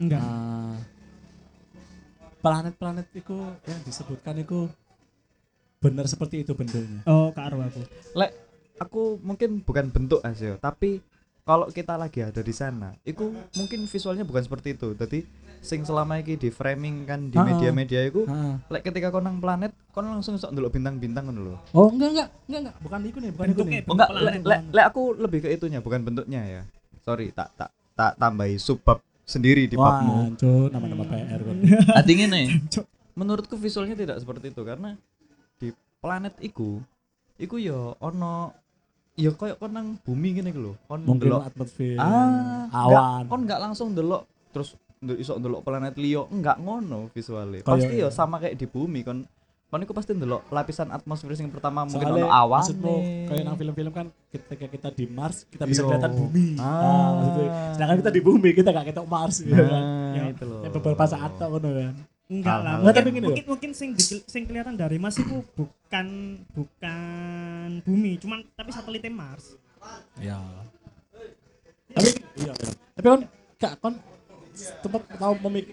C: enggak.
B: Ah, planet-planet itu yang disebutkan itu benar seperti itu bentuknya.
C: Oh, Kak Arwa aku.
A: lek aku mungkin bukan bentuk aja tapi kalau kita lagi ada di sana itu mungkin visualnya bukan seperti itu tadi sing selama ini di framing kan di
B: Ah, ah.
A: media-media itu
B: Ah.
A: lek ketika kau nang planet kau langsung sok ndelok bintang-bintang kan lho
B: Oh enggak enggak enggak enggak bukan itu nih bukan itu
C: Bentuknya
B: nih.
A: oh enggak lek
C: planet,
A: lek
C: planet.
A: lek aku lebih ke itunya bukan bentuknya ya sorry tak tak tak tambahi subbab sendiri di Hmm.
B: Wah,
A: babmu
B: hancur nama-nama PR kan.
A: artinya nih menurutku visualnya tidak seperti itu karena di planet iku iku yo ono yo koyo kau nang bumi gini lho kon
B: Mungkin
A: ndelok
B: atmosfer
A: Ah,
B: awan.
A: Kon nggak langsung delok terus ndel- iso delok planet liyo, enggak ngono visualnya.
B: Kayak-
A: Pasti ya sama kayak di bumi kon kon iku pasti delok lapisan atmosfer sing pertama mungkin
B: Soalnya
A: ono awan.
B: maksudmu kayak nang film-film kan ketika kita di Mars kita bisa
A: Iya.
B: kelihatan bumi.
A: Ah.
B: maksudnya. Sedangkan kita di bumi kita gak ketok Mars gitu kan.
A: Nah, itu loh.
B: Ya, beberapa saat tau ngono kan.
C: Enggak lah.
A: Hal-hal
C: Mungkin,
B: yang-
C: mungkin, mungkin, sing dikil- sing kelihatan dari Mars itu bukan bukan bumi, cuman tapi satelitnya Mars.
B: Iya. Tapi iya. iya. Tapi kon kak kon tempat tahu memik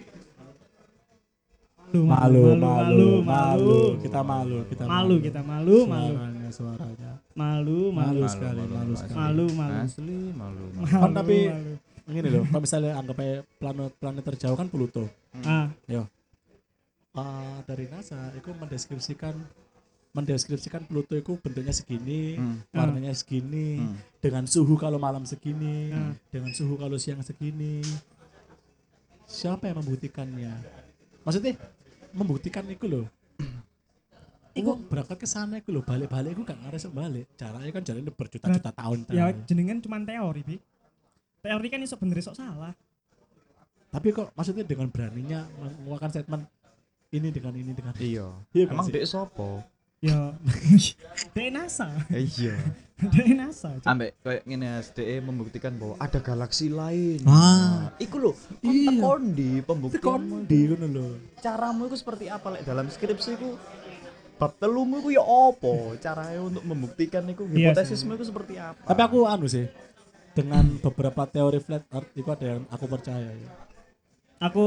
C: Malu,
B: kita malu, kita
C: Malu, kita malu, malu,
B: Suaranya, suaranya.
C: malu,
B: Malu
C: malu,
B: sekali, malu sekali.
C: malu, malu.
A: Asli malu. malu.
C: Malu,
B: Kan tapi-
C: malu.
B: Ini loh, kalau misalnya anggap aja planet planet terjauh kan Pluto.
C: ah,
B: Ah, dari NASA itu mendeskripsikan mendeskripsikan Pluto itu bentuknya segini,
A: Hmm.
B: warnanya segini,
A: Hmm.
B: dengan suhu kalau malam segini,
C: Hmm.
B: dengan suhu kalau siang segini. Siapa yang membuktikannya? Maksudnya membuktikan itu loh. Iku berangkat ke sana iku loh, balik-balik iku gak ngarep balik. Jaraknya kan jaraknya berjuta-juta tahun.
C: ya
B: Tan.
C: jenengan cuman teori, Bi. Teori kan iso bener iso salah.
B: Tapi kok maksudnya dengan beraninya mengeluarkan statement ini dengan ini dengan ini.
A: Iya.
B: Iya gak
A: Emang
B: sih?
A: dek sopo?
C: Ya, dari NASA,
A: Eh, Iya.
C: dari NASA. cuy.
A: Ambek kayak ngene Mas, dek membuktikan bahwa ada galaksi lain.
B: Ah.
A: Nah, iku lho, kon
B: Iya.
A: tekon di pembuktianmu.
B: kondi ngono loh.
A: caramu itu seperti apa lek dalam skripsi ku bab telumu ku ya apa caranya untuk membuktikan itu
C: Iya
A: hipotesismu itu seperti apa
B: Tapi aku anu sih dengan beberapa teori flat earth itu ada yang aku percaya ya.
C: Aku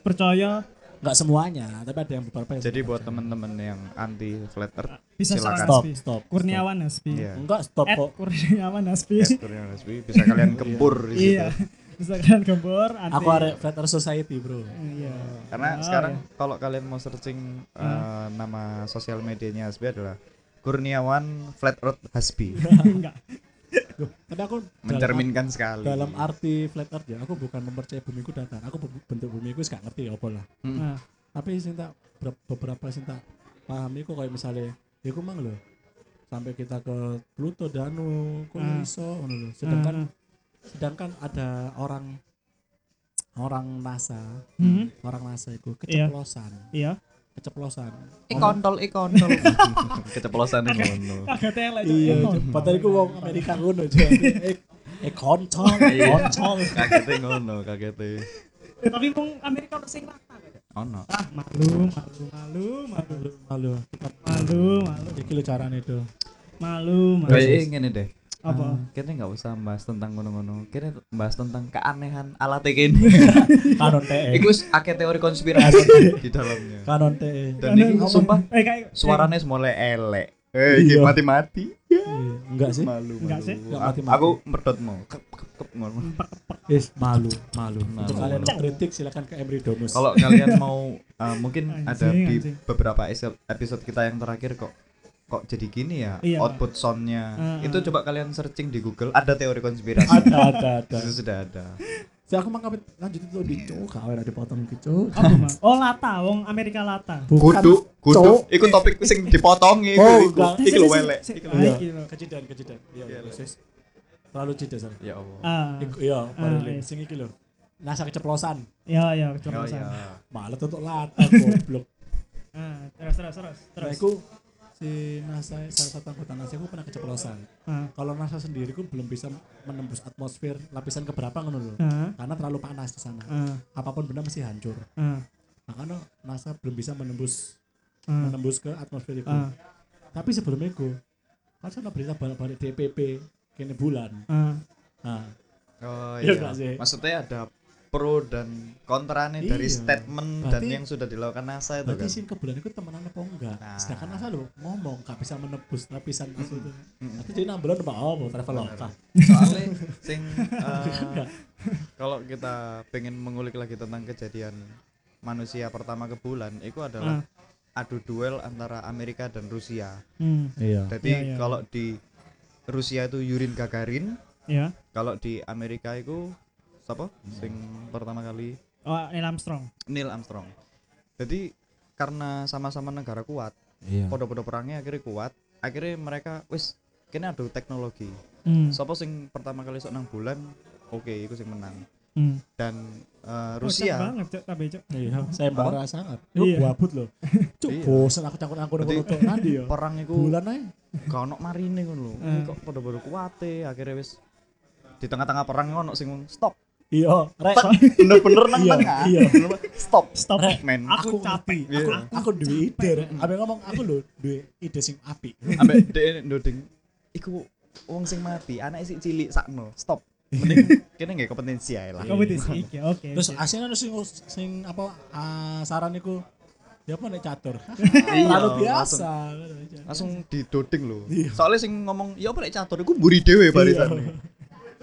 C: percaya
B: Enggak semuanya, tapi ada yang beberapa yang
A: jadi
B: aku
A: buat
B: percaya.
A: temen-temen yang anti flat earth
C: bisa salah
A: Silakan.
B: stop,
C: Hasbi.
B: stop.
C: Kurniawan Hasbi.
A: Iya.
B: Enggak stop
C: At
B: kok.
C: Kurniawan Hasbi.
A: Yes, Kurniawan Hasbi, bisa kalian gempur di situ.
C: Iya. Bisa kalian gempur anti.
B: Aku ada flat earth society, Bro.
C: Iya.
A: karena
C: Oh,
A: sekarang
C: iya.
A: kalau kalian mau searching eh, nama sosial medianya Hasbi adalah Kurniawan Flat Earth Hasbi
C: enggak.
B: Loh, tapi aku dalam-
A: mencerminkan sekali
B: dalam
C: Iya.
B: arti flat earth ya, aku bukan mempercayai bumiku datar. Aku be- bentuk bumiku gak ngerti ya apa lah.
C: Nah,
B: tapi sing tak ber- beberapa sing tak pahami kok kayak misalnya ya ku mang lho sampai kita ke Pluto Danu kok
C: Ah.
B: iso ngono lho. sedangkan sedangkan ada orang orang NASA
C: Mhm.
B: orang NASA itu
C: Iya.
B: keceplosan
C: iya.
B: keceplosan
A: ikontol ikontol keceplosan ngono
C: Agak telek. Cok.
B: iya
C: Eh, Kontol.
B: padahal iku wong Amerika ngono aja eh eh, kontol
A: Iya.
B: kontol
A: kakete ngono kakete
C: Tapi wong Amerika ono sing rata. Cok.
A: ono
C: Ah, malu, malu, malu, malu,
B: malu
C: malu, malu,
B: iki lho carane itu
C: malu, malu.
A: kayak ngene deh
C: Apa?
A: kita nggak usah bahas tentang ngono-ngono kita bahas tentang keanehan ala ini
B: kanon TE
A: itu akeh teori konspirasi di dalamnya
B: kanon E. TE
A: dan ini sumpah
C: Eh kayak
A: suaranya mulai elek eh
B: Iya.
A: mati-mati
B: Iya, enggak sih
A: malu malu
C: Enggak sih.
B: Enggak
A: A-
B: mati-mati.
A: aku medot mau kep kep kep ngono.
B: Eh, malu, malu.
A: Malu.
B: Untuk kalian yang kritik silakan ke Emri Domus.
A: kalau kalian mau eh, mungkin ada
C: Anjing,
A: di
C: anjing.
A: beberapa esi- episode kita yang terakhir kok kok jadi gini ya
C: Iya.
A: output soundnya
C: Ah,
A: itu
C: ah.
A: coba kalian searching di Google ada teori konspirasi
B: ada ada ada.
A: itu sudah ada
B: Saya aku mah kapit lanjut itu di cuk, kawan ada potong di cuk.
C: apa, Mas? Oh, lata, wong Amerika lata.
B: Bukan,
A: kudu kudu
B: cuk.
A: iku topik sing dipotongi iku
B: Oh,
A: iku
B: enggak.
A: iku
C: Sik, sik,
A: welek
C: sik, sik.
A: iku
C: Ah,
A: welek.
B: Iya.
C: iki lho.
B: Kejidan, kejidan. Iya,
A: Iya,
B: iya.
A: iya.
B: sis. Terlalu jeda sana.
A: ya Allah
C: Ah.
B: Iku- Iya, baru
C: iya.
B: ini. sing iki lho. Nasa keceplosan.
C: Ya, ya,
A: ya ya
C: coba sana.
B: Malah tutup lata goblok.
C: Ah, terus terus terus
B: Nah,
C: terus.
B: iku si NASA salah satu anggota NASA aku pernah keceplosan.
C: Ah.
B: Kalau NASA sendiri ku belum bisa menembus atmosfer lapisan keberapa ngono lho.
C: Ah,
B: Karena terlalu panas di sana.
C: ah,
B: Apapun benda mesti hancur.
C: ah,
B: makanya NASA belum bisa menembus
C: ah,
B: menembus ke atmosfer itu.
C: ah,
B: Tapi sebelum itu, kan saya berita balik-balik DPP kini bulan.
C: ah.
B: Nah,
A: Oh
B: Iya
A: iya.
B: nggak sih?
A: Maksudnya ada pro dan kontrane dari
B: Iya.
A: statement dan
B: Berarti-
A: yang sudah dilakukan NASA itu
B: Berarti
A: kan.
B: sih kebulan itu temenan apa
A: Nah.
B: enggak?
A: Hmm,
B: Sedangkan asal lo ngomong gak bisa menebus lapisan asal itu.
A: Mm-mm.
B: Nanti jadi enam bulan oh, numpak apa traveloka.
A: Soalnya sing eh,
B: Kan Enggak.
A: kalau kita pengen mengulik lagi tentang kejadian manusia pertama ke bulan itu
C: Ah,
A: adalah adu duel antara Amerika dan Rusia.
C: hmm,
B: Iya.
A: Jadi
C: Iya, iya.
A: kalau di Rusia itu Yurin Gagarin,
C: ya.
A: kalau di Amerika itu siapa? Sing pertama kali
C: Oh, Neil Armstrong.
A: Neil Armstrong. Jadi karena sama-sama negara kuat,
B: Iya.
A: podo-podo perangnya akhirnya kuat, akhirnya mereka wis kena adu teknologi.
C: Hmm,
A: Sopo sing pertama kali sok nang bulan, oke iku sing menang.
C: hmm.
A: Dan eh,
C: Oh, cocok
A: Rusia
C: banget, Cok, tapi Cok.
B: Iya, saya marah sangat. Yo
C: Iya.
B: buabut loh. Cuk,
A: Iya.
B: bosan aku cangkut-angkut
A: Berarti-
B: ngono tok nanti ya.
A: perang iku
B: Bulan ae.
A: gak ono marine ngono lho.
C: Eh.
A: Kok podo-podo kuate akhirnya wis di tengah-tengah perang ono sing ngomong, stop.
B: Iya, rek.
A: Bener-bener nang
B: Iya,
A: tengah.
B: iya.
A: Stop,
C: Stop.
A: men.
B: Aku-
C: Aku capi.
A: Iya.
B: Aku
C: Aku
B: duwe ide. Rek. Abe ngomong aku lho duwe ide sing apik.
A: Ambek dhek ndoding. Iku wong sing mati, anak sik cilik sakno. Stop. Mending kene nggih kompetensi ae lah.
C: kompetisi. Oke, oke.
B: Terus
C: oke.
B: asine ono sing sing apa ah, saran iku ya apa nek catur.
A: Iya, langsung-
B: Terlalu
A: Iya.
B: biasa.
A: langsung didoding lho.
B: Iya.
A: Soalnya sing ngomong ya apa lek catur iku mburi dhewe barisan.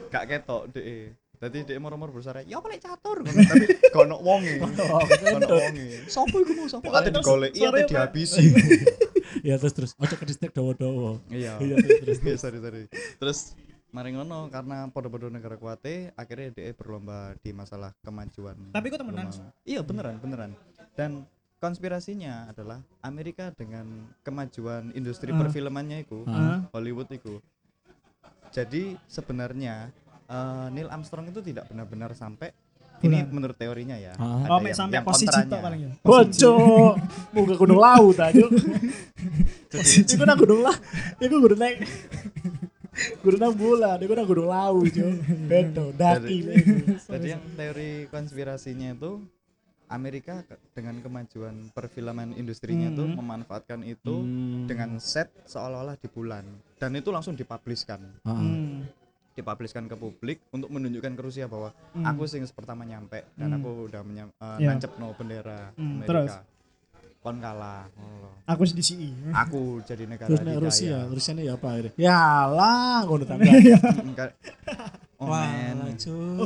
A: Gak ketok dhek. Dadi dhek moro-moro bersara, ya apa lek catur ngono tapi kono wonge. Kono wonge. Sopo iku mau sopo? Ate digolek, iya ate dihabisi.
B: Ya terus terus ojo ke distrik dawa-dawa.
A: Iya.
B: Iya terus terus.
A: Iya, sorry sorry. Terus mari ngono karena podo-podo negara kuate akhirnya dhek berlomba di masalah kemajuan.
C: Tapi kok temenan?
A: Lumayan. Iya, beneran, beneran. Dan konspirasinya adalah Amerika dengan kemajuan industri
C: Ah.
A: perfilmannya itu
C: Ah,
A: Hollywood itu. Jadi sebenarnya eh, Neil Armstrong itu tidak benar-benar sampai ini
C: Bulan.
A: menurut teorinya ya.
B: Ah.
A: Ada
C: Oh, mek sampai posisi
A: kontranya.
C: tok paling ya.
B: Bojo, muka gunung laut aja. Iku nang gunung lah, iku gunung naik. Gunung nang bulan, iku nang gunung laut jo. Beto, daki.
A: Jadi- Jadi yang teori konspirasinya itu Amerika ke- dengan kemajuan perfilman industrinya itu
C: Mhm.
A: memanfaatkan itu dengan set seolah-olah di bulan dan itu langsung dipublishkan.
C: Hmm,
A: dipublishkan ke publik untuk menunjukkan ke Rusia bahwa
C: hmm.
A: aku sing pertama nyampe dan
C: Hmm.
A: aku udah menyam, eh,
C: Iya.
A: nancepno bendera
C: Hmm, terus?
A: Amerika. Kon kalah. ngono lho.
C: aku di E. Iya. CI.
A: Aku E. jadi negara
B: Terus nek
A: dikaya.
B: Rusia, Rusia ini apa akhirnya? iya, Ya lah, ngono tambah.
A: Enggak. Mm, Oh men.
C: Oh,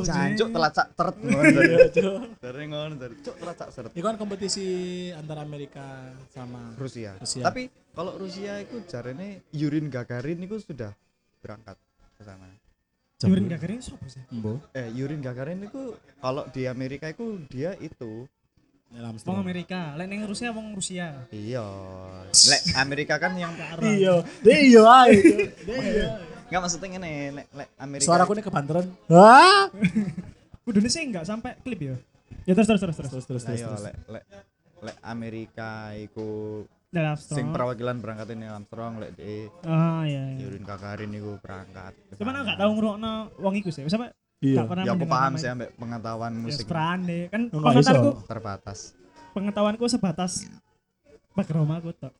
B: cu.
A: Jancuk telat cak teret ngono
B: Oh, Iya,
A: dari-
B: cu.
A: dari ngono dari cuk telat cak seret.
B: Iku kan kompetisi antara Amerika sama
A: Rusia.
B: Rusia.
A: Tapi kalau Rusia itu jarene Yurin Gagarin itu sudah berangkat ke sana.
C: Cuman
B: kan?
C: gak kering sopo sih?
B: Mbo.
A: Eh Yurin Gagarin itu kalau di Amerika itu dia itu
B: Dalam
C: Wong Amerika, lek ning Rusia wong Rusia.
A: iya. Lek Amerika kan yang
C: Ke arah.
B: Iya, dia iya ae. cu. Dia iya.
A: Enggak maksudnya ngene, lek lek Amerika.
B: Suara aku ini kebanteran. Hah?
C: Kudune sih enggak sampai klip ya. Ya terus terus terus terus.
B: Terus terus
A: Lah
B: terus.
A: yo,
B: terus.
A: lek lek lek Amerika iku
C: Neil Armstrong.
B: Oh.
A: sing perwakilan berangkat ini Armstrong lek di
B: Hmm.
C: Ah iya. iya.
A: Yurin Gagarin iku berangkat. ke
C: Cuman aku
A: sana.
C: gak tau ngrungokno wong iku sih. Sampai
B: Iya.
C: gak pernah
A: Ya aku
C: mendengar
A: paham
C: namanya.
A: sih ambek pengetahuan
C: Ya
A: musik
C: seprane. Kan
B: Enggak
C: pengetahuanku
B: iso.
A: terbatas.
C: pengetahuanku sebatas background aku tok.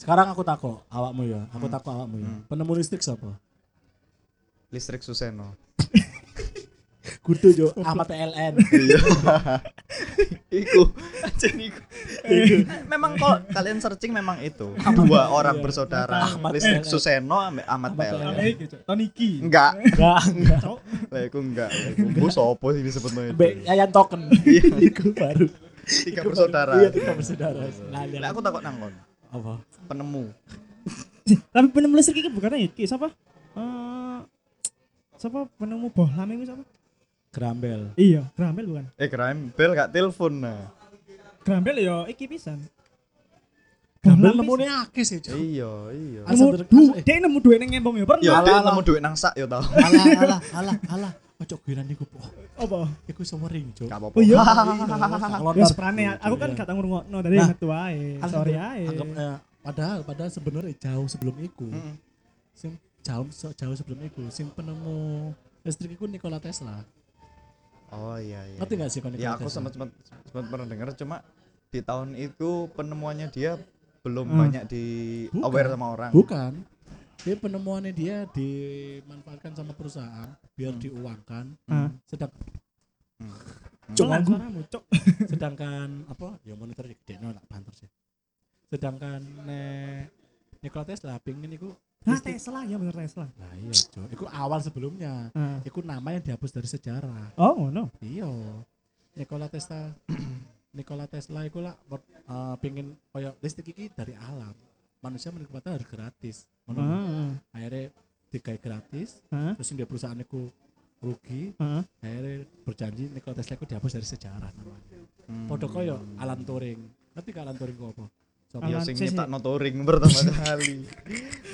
B: Sekarang aku takut awakmu ya. Aku
A: Hmm.
B: takut awakmu ya.
A: Hmm.
B: Penemu listrik siapa?
A: Listrik Suseno.
B: Kudu jo Ahmad PLN.
A: Iya. iku. Anjir, iku. Memang kalau kalian searching memang itu. Dua orang
B: Iya.
A: bersaudara,
B: Ahmad
A: Listrik
B: PLN.
A: Suseno ambek Ahmad
B: Ahmad
A: PLN.
C: Sampai iki, Cok. Tahun iki.
A: Enggak,
B: Enggak, enggak.
C: Cok.
A: lah iku enggak. Lah iku Bu sopo sih disebutno
B: Be
A: itu?
B: Yayan Token. Iku baru.
A: Tiga
B: Iku baru.
A: bersaudara.
B: Iya, tiga bersaudara. Nah,
A: Lah
B: lihat.
A: aku takut nangkon.
B: apa?
A: Penemu.
C: Tapi penemu listrik iki bukan ya iki siapa? Eh siapa penemu bohlam iku siapa?
B: Grambel.
C: Iya, Grambel bukan.
A: Eh Graham Bell gak telepon nah.
C: Grambel ya iki pisan.
B: Grambel
C: Bohlam
B: nemune akeh sih, Cuk.
A: Iya, iya.
B: Alasan
C: Nemu
B: ter-
C: du,
B: eh.
C: dia nemu duit neng ngembong ya
A: Ya
C: pernah.
B: Alah,
A: dia
B: alah.
A: nemu duit nang sak ya tau.
B: Alah, alah, alah, alah. Ojo giran iku, po.
C: Apa?
B: Iku sewering, Cuk.
A: Gak apa-apa.
C: Oh iya.
B: Kalau
C: Ya
B: Iya,
C: seprane, aku kan gak tau ngurungokno dari
B: Nah,
C: metu ae. Sorry
B: iya.
C: ae. Ah,
B: padahal padahal sebenarnya jauh sebelum iku.
A: Mm-mm.
B: Sing jauh jauh sebelum iku, sing penemu listrik iku Nikola Tesla.
A: Oh iya iya.
B: Ngerti gak sih kalau
A: Ya
B: Nikola
A: aku
B: Tesla?
A: sempat sempat sempat pernah dengar cuma di tahun itu penemuannya dia belum
C: Hmm.
A: banyak di
B: Bukan.
A: aware sama orang.
B: Bukan. Dia penemuannya dia
A: Hmm.
B: dimanfaatkan sama perusahaan biar diuangkan.
C: Hmm.
B: Sedang Cuk,
C: Pelan
B: aku.
C: suaramu, cuk.
B: sedangkan apa ya monitor ya gede no lah banter sih sedangkan nek Nikola Tesla pingin iku
C: Nah,
B: listrik-
C: Tesla ya bener Tesla.
B: lah iya Cuk. iku awal sebelumnya
C: Ah.
B: iku nama yang dihapus dari sejarah
C: Oh, ngono.
B: iya Nikola Tesla Nikola Tesla iku lah uh, pingin koyo listrik iki dari alam manusia menikmati harus gratis Ngono.
C: Heeh.
B: akhirnya digawe gratis
C: Heeh.
B: terus yang dia perusahaan iku rugi
C: Heeh.
B: akhirnya berjanji Nikola Tesla iku dihapus dari sejarah namanya
A: Hmm.
B: Podo koyo Alan Turing. Ngerti gak Alan Turing ku apa? Sopo?
A: Ya
C: Alan-
A: sing
C: sih, sih.
A: nyiptakno Turing pertama kali.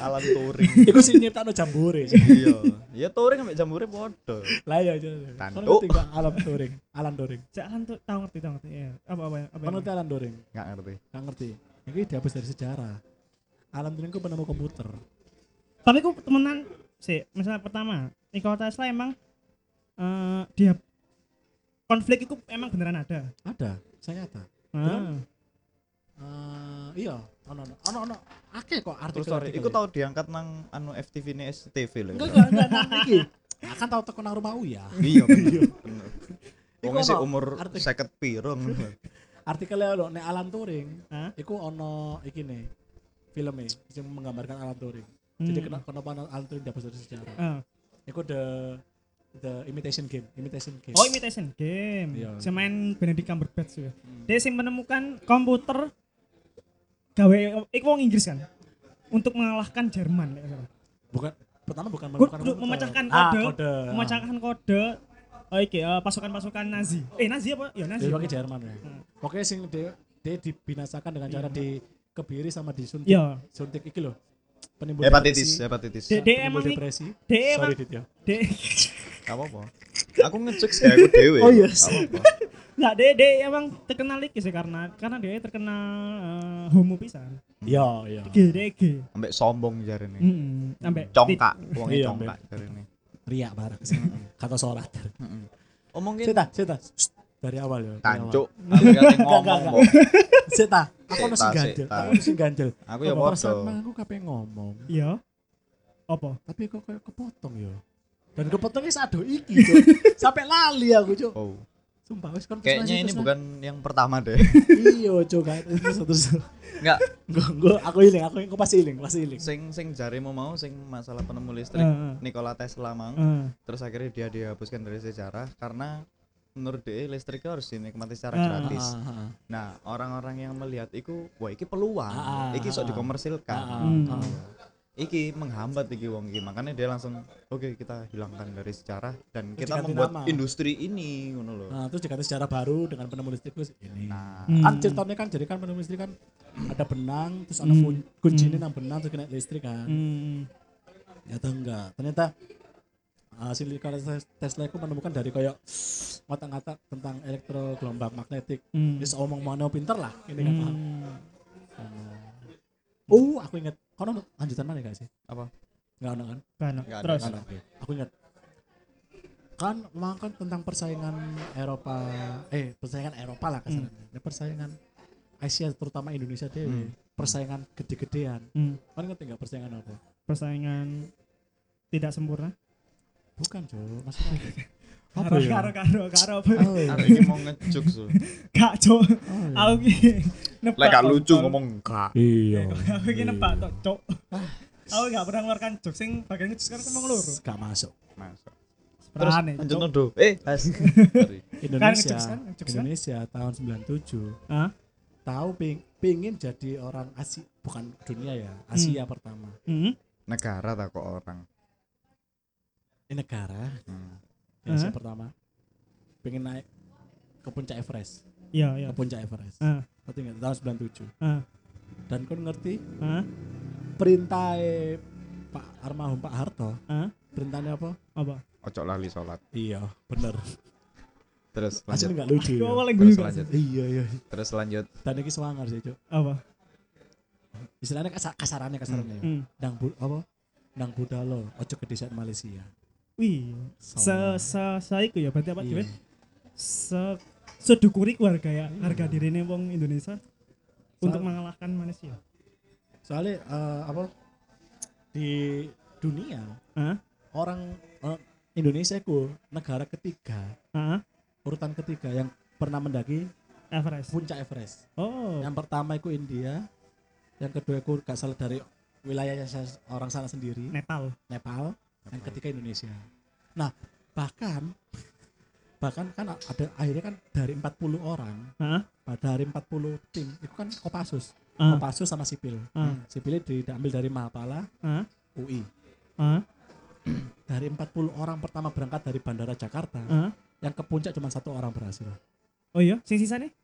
A: Alan Turing.
B: Iku sing nyiptakno jambore.
A: Iya. Ya Turing ambek jambore padha.
B: Lah ya.
A: Tantu.
B: Ngerti gak Alan Turing? Alan Turing.
C: Jalan kan tuh tahu ngerti tahu ngerti. Ya. Apa apa apa.
B: Kau ngerti Alan Turing?
A: Enggak ngerti.
B: Gak ngerti. Iki dihapus dari sejarah. Alan Turing ku penemu komputer.
C: Tapi ku temenan sih, misalnya pertama, Nikola Tesla emang eh dia konflik itu emang beneran ada.
B: Ada, saya nyata.
C: Ah.
B: Eh, iya, ono ono ono ono. Akeh kok
A: Terus
B: artikel.
A: sorry, iku tau diangkat nang anu FTV ne SCTV lho.
B: Enggak enggak enggak enggak, enggak, iki. Akan tahu tekan rumah Uya.
A: Iya. bener, bener.
B: Iku
A: Wong sih
B: ono
A: umur
B: arti-
A: 50 piro ngono.
B: Artikelnya lho nek Alan Turing,
C: Hah?
B: iku ono iki nih filmnya yang menggambarkan Alan Turing.
C: Hmm.
B: Jadi kenapa kenapa Alan Turing dihapus dari sejarah?
C: Ah.
B: Iku the the imitation game, imitation game.
C: Oh, imitation game.
B: Iya. Hmm.
C: Saya main Benedict Cumberbatch ya. Dia sih menemukan komputer gawe iku wong Inggris kan. Untuk mengalahkan Jerman gitu. nek nggak salah.
B: bukan pertama bukan
C: Ku-
B: menemukan
C: ku-
B: komputer.
C: memecahkan
B: Ah,
C: kode,
B: kode.
C: memecahkan kode. Oh, iki eh, pasukan-pasukan Nazi. Eh, Nazi apa? Ya Nazi.
B: Dia pakai Jerman ya.
C: Hmm.
B: Pokoknya sing dia, dia dibinasakan dengan cara di kebiri sama disuntik.
C: Iya.
B: Suntik iki loh. Penimbul
A: Hepatitis,
B: depresi.
A: hepatitis.
C: Dek- dek
B: Penimbul
C: emang iki-
B: depresi.
C: dek
B: Sorry
C: emang-
B: Dit ya.
C: Dia-
A: Gak apa-apa. Aku ngecek sih aku dhewe.
B: Oh, iya.
A: Gak apa-apa.
C: Nggak, dia, dia emang terkenal iki sih karena karena dia terkenal eh, homo pisan.
B: Iya, iya.
C: G, dia G.
A: Ambek sombong jarene.
C: Mm-mm, sampai
A: Congkak, wong
B: Iya,
A: congkak jarene.
B: Riak bareng. Kata sholat.
A: Omongin
B: Cita, cita. Shh, Dari awal ya. dari
A: tancuk, aku ngomong
B: enggak.
A: kok.
B: awal. Cita, aku
A: Sik,
B: harus
A: tak, sik,
B: ganjel.
A: tak.
B: Aku harus ganjel.
A: Aku ya
B: Kok perasaan
A: bodoh.
B: mah aku kape ngomong.
C: Iya. Apa?
B: Tapi kok kayak kepotong ya. Dan kepotongnya sado iki, Cuk. Sampai lali aku, Cuk.
A: Oh.
B: Sumpah wis konfirmasi.
A: Kayaknya ini
B: terus lah.
A: bukan yang pertama deh.
B: Iya, Cuk. kan. Terus terus.
A: Enggak,
B: Gua gua aku iling, aku aku pasti iling, pasti iling.
A: sing sing jarimu mau sing masalah penemu listrik
C: Heeh.
A: Nikola Tesla mang.
C: Heeh.
A: Terus akhirnya dia dihapuskan dari sejarah karena menurut dia listrik itu harus dinikmati secara
C: Ah,
A: gratis.
B: Ah, ah, ah.
A: Nah, orang-orang yang melihat itu, wah iki peluang.
B: Ah,
A: iki sok
B: ah,
A: dikomersilkan.
B: ah,
C: Hmm.
B: ah.
A: Iki menghambat iki wong iki. Makanya dia langsung oke kita hilangkan dari sejarah dan
B: Terus
A: kita
B: diganti
A: membuat
B: nama.
A: industri ini ngono loh.
B: Nah, terus diganti secara baru dengan penemu listrik terus ini.
A: Nah,
C: Hmm.
B: Kan ceritanya kan jadi kan penemu listrik kan ada benang, terus ada
C: Hmm.
B: kun- kuncinya nang benang terus kena listrik kan.
C: Hmm.
B: Ternyata Ya enggak. Ternyata uh, si Nikola Tes- Tesla itu menemukan dari koyok ngotak-ngotak tentang elektro gelombang magnetik.
C: Hmm.
B: Dia omong mana pinter lah, ini kan paham.
C: Hmm.
B: Oh, aku inget. Kono lanjutan mana gak sih?
A: Apa?
B: Enggak ada kan?
C: Kan,
A: Nggak ada,
C: Terus.
B: Kan, oke. Aku ingat. Kan memang kan tentang persaingan Eropa, eh persaingan Eropa lah kasarnya.
C: Hmm.
B: Ini persaingan Asia terutama Indonesia dewe. Persaingan gede-gedean.
C: Hmm.
B: Kan ngerti nggak persaingan apa?
C: Persaingan tidak sempurna.
B: Bukan, Jo. Maksudnya apa?
C: Karo
B: ya?
C: karo karo karo.
B: Oh,
A: arek iki mau ngejuk su.
C: Gak cok.
B: oh, ya.
C: Hmm. Aku ki nebak.
A: Lek gak
C: Tom,
A: lucu
C: Tom.
A: ngomong gak.
B: Iya.
C: Aku ki nebak tok cok. Aku gak pernah mengeluarkan jok sing bagian ngejus kan ngomong loro.
B: Gak masuk.
A: Masuk. Nah, Terus
C: Terane.
A: lanjut nodo. Eh, has. Sorry.
B: Indonesia,
C: ngejokes kan, ngejokes kan?
B: Indonesia tahun 97
C: Hah?
B: tahu ping, pingin jadi orang Asia bukan dunia ya Asia pertama
C: Hmm.
A: Negara tak kok orang.
B: ini negara
A: Hmm.
B: di Asia
C: Hah?
B: pertama pengen naik ke puncak Everest
C: Iya, iya.
B: ke puncak Everest
C: Ah,
B: ngerti nggak tahun 97
C: ah,
B: dan kau ngerti
C: ah,
B: perintah Pak Armahum Pak Harto
C: ah.
B: perintahnya apa
C: Apa?
A: Ocok lali sholat.
B: iya bener
A: Terus
B: asli
A: lanjut.
B: nggak lucu
C: Aduh,
B: ya.
C: awalnya gue
A: Terus
C: juga.
A: lanjut.
B: iya iya
A: Terus lanjut.
B: dan ini semangat sih cok
C: Apa?
B: istilahnya kasar kasarannya kasarannya
C: Hmm.
B: nang bu apa nang budalo ojo ke desa Malaysia
C: Wih, se
B: Sama.
C: se saiku ya berarti apa
B: Iya.
C: duit? Se sedukuri harga ya harga dirine wong Indonesia untuk mengalahkan Malaysia.
B: soalnya eh, apa di dunia
C: Hah?
B: orang eh, Indonesia itu negara ketiga
C: Hah?
B: urutan ketiga yang pernah mendaki
C: Everest.
B: puncak Everest.
C: Oh,
B: Yang pertama itu India, yang kedua itu gak salah dari wilayahnya saya- orang sana sendiri,
C: Nepal.
B: Nepal, yang ketiga Indonesia. Nah, bahkan bahkan kan ada akhirnya kan dari 40 orang,
C: Hah?
B: pada dari 40 tim, itu kan Kopassus,
C: Ah.
B: Kopassus sama sipil.
C: Ah.
B: Sipilnya di- diambil dari Mahapala,
C: Ah.
B: UI.
C: Hah?
B: Dari 40 orang pertama berangkat dari Bandara Jakarta,
C: Ah.
B: yang ke puncak cuma satu orang berhasil.
C: Oh iya, sing sisane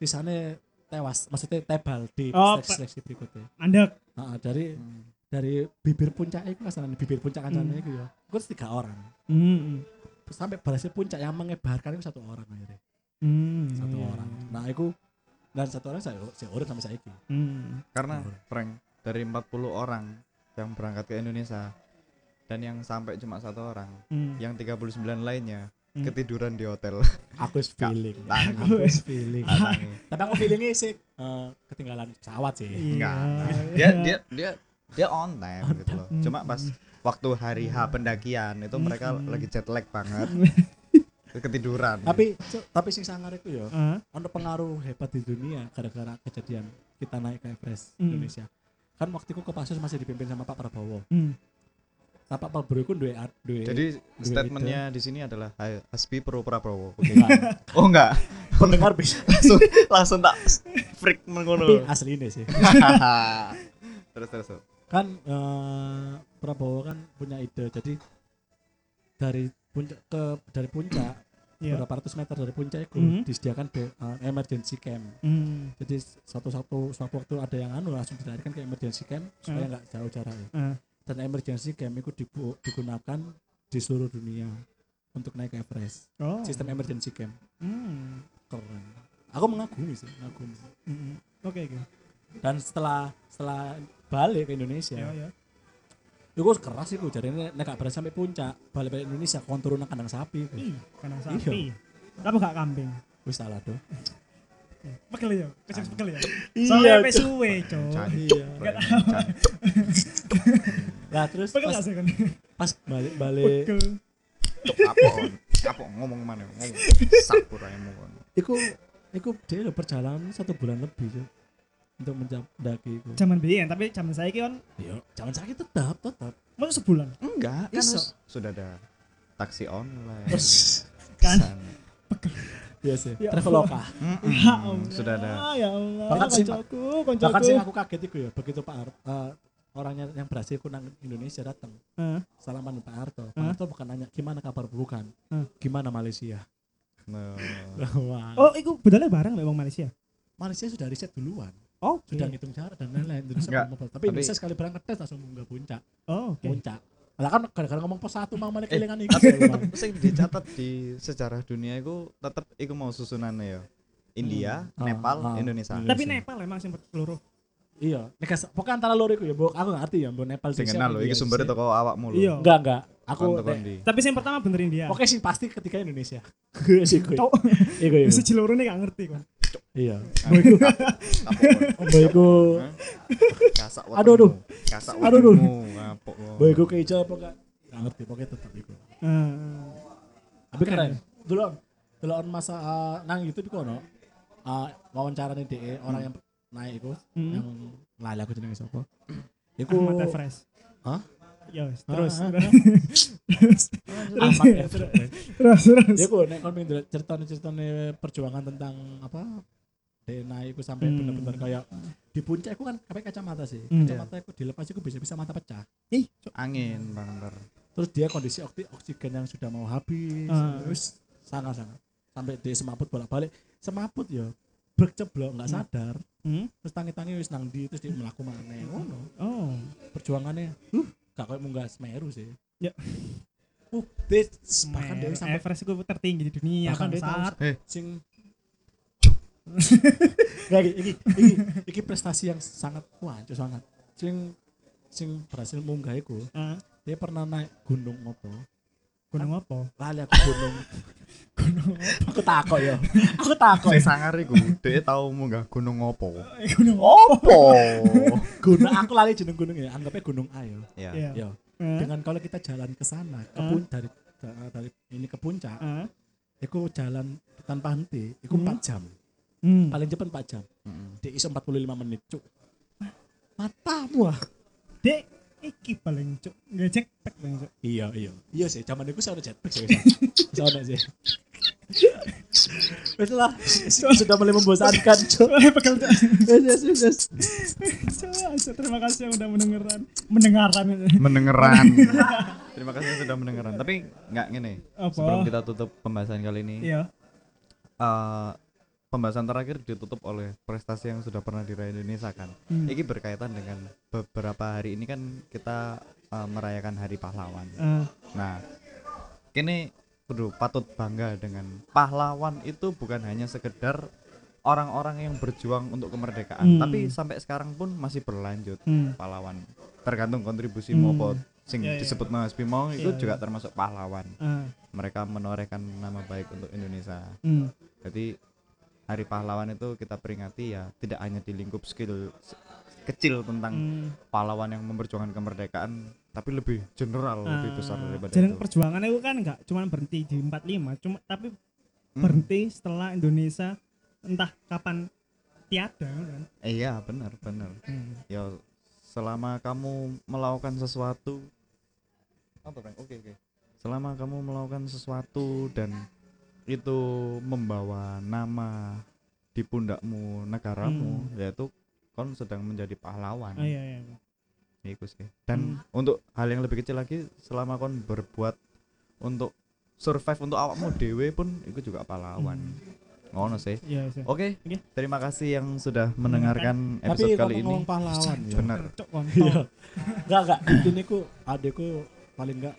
B: Sisanya tewas, maksudnya tebal di
C: Oh,
B: seleksi, seleksi berikutnya.
C: mandek.
B: Nah, dari
A: Hmm.
B: dari bibir puncak itu kasaran bibir puncak kancane
C: Hmm.
B: itu ya. Gue tiga orang.
C: Hmm.
B: sampai berhasil puncak yang mengebarkan itu satu orang akhirnya
C: Hmm.
B: satu
C: iya.
B: orang nah aku dan satu orang saya saya urut sampai saya iki
C: Hmm.
A: Karena prank dari 40 orang yang berangkat ke Indonesia dan yang sampai cuma satu orang,
C: Hmm.
A: yang 39 lainnya
C: Hmm.
A: ketiduran di hotel. Nah,
B: aku is feeling
A: Tangi.
B: aku is feeling
A: Tangi.
B: tapi aku feelingnya sih eh, ketinggalan pesawat sih
A: Enggak.
C: Iya.
A: dia dia dia dia on time gitu loh.
C: time.
A: Cuma pas waktu hari H pendakian itu mereka
C: Mm-mm.
A: lagi jet lag banget. Ketiduran.
B: tapi Cuk, tapi sing sangar itu ya
C: Ah.
B: ada pengaruh hebat di dunia gara-gara kejadian kita naik ke Everest
C: Hmm.
B: Indonesia kan waktu itu Kopassus masih dipimpin sama Pak Prabowo
C: Hmm.
B: nah Pak Prabowo itu dua dua
A: jadi
B: Dua
A: statementnya di sini adalah "Hai, Hasbi Pro Prabowo.
B: Nah,
A: Oh enggak.
B: pendengar bisa
A: langsung langsung tak freak
B: tapi
A: mengono.
B: asli ini sih
A: terus terus. terus.
B: kan eh, Prabowo kan punya ide jadi dari puncak ke dari puncak
C: Iya.
B: berapa ratus meter dari puncak itu
C: Mhm.
B: disediakan be- eh, emergency camp
C: Hmm.
B: jadi satu satu suatu waktu ada yang anu langsung dilarikan ke emergency camp supaya nggak jauh jaraknya
C: Ah.
B: dan emergency camp itu dibu- digunakan di seluruh dunia untuk naik ke Everest
C: Oh.
B: sistem emergency camp
C: Hmm.
B: keren aku mengagumi sih mengagumi
C: Hmm. Oke, oke.
B: dan setelah setelah balik ke Indonesia
C: Ya, ya.
B: Iku keras iku jarene nek gak beres sampai puncak, balik-balik Indonesia kon turun nang kandang sapi.
C: Ih, kena
B: Iya.
C: sapi. Tapi gak kambing.
B: Wis salah do.
C: Pegel ya, kecil pegel ya. Soalnya sampai suwe, cok.
A: Cancuk.
B: Iya.
A: prank, cancuk.
B: Lah terus
C: Pegel gak
B: pas,
C: sih kan?
B: pas balik-balik
C: Pegel.
A: Apa on? Apa ngomong mana? Ngomong. Sapuraimu. on.
B: iku iku dia udah perjalanan satu bulan lebih Cuk, untuk mendaki iku.
C: Zaman biyen, tapi zaman saya kan
B: Iya, jangan sakit tetap tetap.
C: mau sebulan.
B: Hmm,
A: Enggak, kan
B: Iso.
A: harus- sudah ada taksi online.
C: Kan.
A: Pesan.
B: Iya sih,
C: Ya
B: traveloka.
A: Mm-mm.
C: Ya Allah.
A: Sudah ada.
C: Ya Allah.
B: Bahkan sih,
C: Koncoku,
B: Bahkan sih
C: koncoku.
B: kan aku kaget iku ya, begitu Pak Ar- eh, orangnya yang berhasil ku nang Indonesia datang.
C: Heeh.
B: Salaman Pak Harto. Pak
C: Hah?
B: Harto bukan nanya gimana kabar bukan.
C: Hah?
B: Gimana Malaysia?
A: No.
B: Wah.
C: Hmm. Oh, iku budalnya bareng mbak wong Malaysia.
B: Malaysia sudah riset duluan,
C: Oke.
B: sudah ngitung jarak dan lain-lain. Indonesia
A: Iya. Enggak,
B: belum mobile. Tapi
A: tapi-
B: Indonesia sekali berangkat tes langsung munggah puncak,
C: Oh, oke.
B: puncak. Lah kan gara-gara ngomong pos satu mau malah
A: Eh,
B: kelingan iki.
A: tapi tetap sing dicatat di sejarah dunia itu tetap iku mau susunannya ya. India,
B: Hmm. Ah,
A: Nepal,
B: ah.
A: Indonesia.
B: Hmm.
C: Tapi
B: Malaysia.
C: Nepal emang sempat peluru.
B: Iya, nek pokoknya antara loro iku ya, mbok aku nggak ngerti ya, mbok Nepal
A: Sing kenal lho, iki sumbernya
B: tuh.
A: toko awakmu
C: Iya.
A: lho.
B: Enggak, enggak. Aku
A: Kon toko
B: nek-
A: ndi?
C: Tapi yang pertama bener India.
B: Pokoknya sih pasti ketika Indonesia.
A: Iya,
B: Wis iku.
C: Cok.
B: Iku iku.
C: Siji loro nih gak ngerti kon.
B: Iya.
A: Ah, kapok, kon.
B: Mbok iku,
A: Hah? Kasak
B: Aduh, aduh.
A: wetengmu. Kasak
B: Aduh, aduh.
A: wetengmu, ngapok kon.
B: mbok iku keijo apa enggak? Nggak ngerti pokoknya tetap iku.
C: Heeh.
B: Tapi keren. Dulu dulu masa eh, nang YouTube iku ono eh, wawancarane DE orang yang naik iku
C: Hmm.
B: yang lali aku jenenge sapa. Iku
C: Ahmad Everest.
B: Hah?
C: Ya, wes, terus.
B: Ah,
C: terus. Terus.
B: Ahmad Everest.
C: Terus. Terus.
B: Ya ku nek kon pengen ceritane-ceritane perjuangan tentang apa DE naik iku sampai
C: Hmm.
B: bener-bener kayak di puncak iku kan kabeh kacamata sih.
C: Hmm.
B: Kacamata iku dilepas iku bisa-bisa mata pecah.
A: Angin bang ntar.
B: Terus dia kondisi oksi- oksigen yang sudah mau habis.
C: Ah.
B: Terus sangat-sangat sampai dia semaput bolak-balik. Semaput ya brek ceblok nggak
C: Hmm.
B: sadar.
C: Hmm?
B: terus tangi-tangi wis nang ndi terus dia melaku maneh ngono
C: Oh.
B: perjuangannya huh gak koyo munggah Semeru sih
C: Ya.
B: uh dia bahkan dia
C: Mer,
B: sampai
C: Everest itu Eh, tertinggi di dunia
B: Bahkan
C: kan
B: dia tahu
C: saat
B: sing Gak, iki, iki, iki prestasi yang sangat wah cuk, sangat sing sing berhasil munggah iku
C: Ah,
B: dia pernah naik gunung apa
C: gunung apa?
B: lali aku gunung
C: Gunung
B: aku takok ya aku ya. takok
A: Sing sangar iku, dhek tau munggah gunung opo?
C: eh, gunung
A: Opo?
B: gunung aku lali jeneng gunung ya anggapnya gunung A ya
A: Ya.
C: Iya.
B: Yo.
C: Ah,
B: dengan kalau kita jalan ke sana ke pun dari da- dari ini ke puncak
C: ah,
B: Iku jalan tanpa henti, iku
C: Hmm.
B: 4 jam.
C: Hmm.
B: Paling cepat 4 jam.
A: Mm-mm.
B: Di iso 45 menit, cuk. Matamu ah.
C: Dek, iki paling cuk, nggak jetpack paling cuk.
B: Iya, iya. Iya sih, zaman iku saya ono jetpack sih. Saya ono sih. Wes lah, sudah mulai membosankan, cuk.
C: Pegal cuk.
B: Wes, wes, wes, wes.
C: Cuk, Terima kasih yang udah mendengarkan, mendengarkan
A: mendengeran terima kasih yang sudah mendengaran tapi nggak gini
C: apa?
A: sebelum kita tutup pembahasan kali ini
C: Iya.
A: eh, pembahasan terakhir ditutup oleh prestasi yang sudah pernah diraih Indonesia kan
C: Hmm.
A: ini berkaitan dengan beberapa hari ini kan kita eh, merayakan hari pahlawan
C: Eh,
A: Nah, kini kudu patut bangga dengan pahlawan itu bukan hanya sekedar orang-orang yang berjuang untuk kemerdekaan,
C: Hmm.
A: tapi sampai sekarang pun masih berlanjut
C: hmm.
A: pahlawan. Tergantung kontribusi
C: Hmm.
A: maupun sing
C: Ya, ya.
A: disebut Mas Bimo itu
C: Ya, ya.
A: juga termasuk pahlawan.
C: Ah,
A: Mereka menorehkan nama baik untuk Indonesia.
C: hmm.
A: Jadi Hari Pahlawan itu kita peringati ya tidak hanya di lingkup skill se- kecil tentang
C: Hmm.
A: pahlawan yang memperjuangkan kemerdekaan, tapi lebih general, Oh, lebih besar
C: Ah,
A: daripada
C: jaring
A: itu.
C: perjuangan itu kan nggak cuma berhenti di 45 cuma tapi
A: Hmm.
C: berhenti setelah Indonesia entah kapan tiada kan
A: Iya benar benar. Ya selama kamu melakukan sesuatu apa Frank? Oke oke. Selama kamu melakukan sesuatu dan itu membawa nama di pundakmu negaramu yaitu kon sedang menjadi pahlawan.
C: oh, Hmm. iya, Hmm. iya.
A: Iku sih. Dan untuk hal yang lebih kecil lagi selama kon berbuat untuk survive untuk awakmu dewe pun itu juga pahlawan. Ngono sih.
C: Iya, Hmm. iya.
A: Oke,
C: Oke.
A: terima kasih yang sudah mendengarkan episode
B: Tapi
A: kali ini.
B: ngomong pahlawan ya.
A: Benar.
C: Cok, kontol.
B: Iya. Enggak enggak, ini ku adekku paling enggak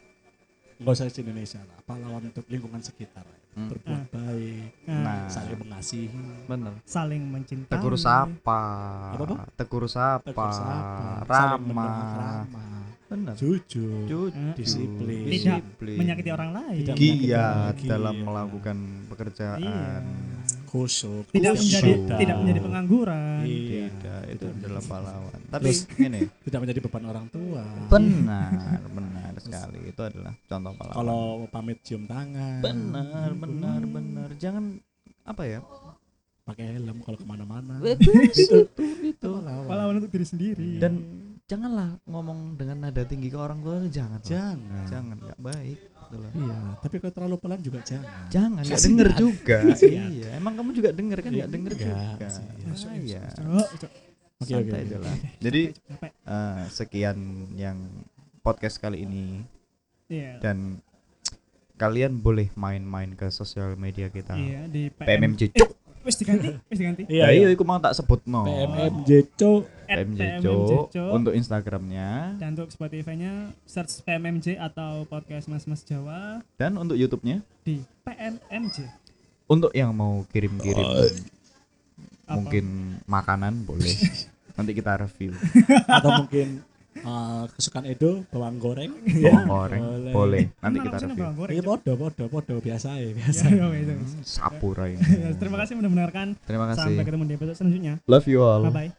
B: enggak usah di Indonesia lah, pahlawan untuk lingkungan sekitar.
A: Hmm.
B: Berbuat baik,
A: Nah,
C: Nah,
B: saling mengasihi.
A: benar.
C: saling mencintai
A: Tegur sapa.
B: Apa-apa?
A: Tegur sapa.
B: tegur sapa, saling berdoa
A: Ramah.
B: ramah,
A: Benar.
B: jujur,
A: Jujur.
B: Disiplin.
C: Tidak
A: Disiplin.
C: menyakiti orang
B: Tidak
C: lain
A: Giat
B: Giat.
A: dalam melakukan pekerjaan.
C: Iya.
B: khusyuk,
A: Iya.
C: tidak
B: khusyuk.
C: menjadi
A: Khusyuk.
C: tidak menjadi pengangguran
B: Iya.
A: Tidak, itu
B: Tidak.
A: adalah pahlawan. Tapi
B: Terus-
A: ini
B: Tidak menjadi beban orang tua.
A: benar, benar sekali. Itu adalah contoh pahlawan.
B: Kalau pamit cium tangan. Gitu.
A: benar, benar, benar. Jangan apa ya?
B: Pakai helm kalau kemana-mana.
A: itu, itu.
C: pahlawan untuk diri sendiri
A: Dan janganlah ngomong dengan nada tinggi ke orang tua, jangan. lah.
B: jangan.
A: Jangan, nggak baik. Gitu lah.
B: Iya, tapi kalau terlalu pelan juga jangan.
A: Jangan, nggak
B: Kasihan.
A: denger juga.
B: Kasihan.
A: iya, emang kamu juga denger kan nggak denger
B: Enggak,
A: juga.
B: kasihan.
A: Ah, Iya.
C: Cok, cok,
B: Oke, oke.
A: Santai
B: oke.
A: aja lah. Jadi
C: capek
A: eh, sekian yang podcast kali ini
C: iya
A: dan kalian boleh main-main ke sosial media kita.
C: iya di PM
A: PMMJ
C: eh, wis diganti wis diganti
A: Ya
B: Iya, iya.
A: iya, aku mau tak sebut no.
B: PMMJ Cuk.
C: At
A: PMMJ
C: PMMJ,
A: Cuk.
C: Cuk.
A: untuk Instagramnya
C: Dan untuk Spotify-nya search PMMJ atau podcast Mas Mas Jawa
A: dan untuk YouTube-nya.
C: di PMMJ.
A: Untuk yang mau kirim-kirim
C: Oh. Apa?
A: mungkin makanan boleh. Nanti kita review.
B: atau mungkin eh, kesukaan Edo bawang goreng.
A: Bawang goreng
B: Boleh.
A: boleh. Nanti
C: Iya. Emang
A: kita
C: aku seneng
A: review.
C: bawang goreng,
B: Iya
C: Cuk.
B: podo podo podo biasa ya
C: Ya,
B: biasa.
C: ya, wes, wes.
A: Sapura ini.
C: Ya, Terima kasih sudah mendengarkan.
A: Terima kasih.
C: Sampai ketemu di episode selanjutnya.
A: Love you all.
C: Bye bye.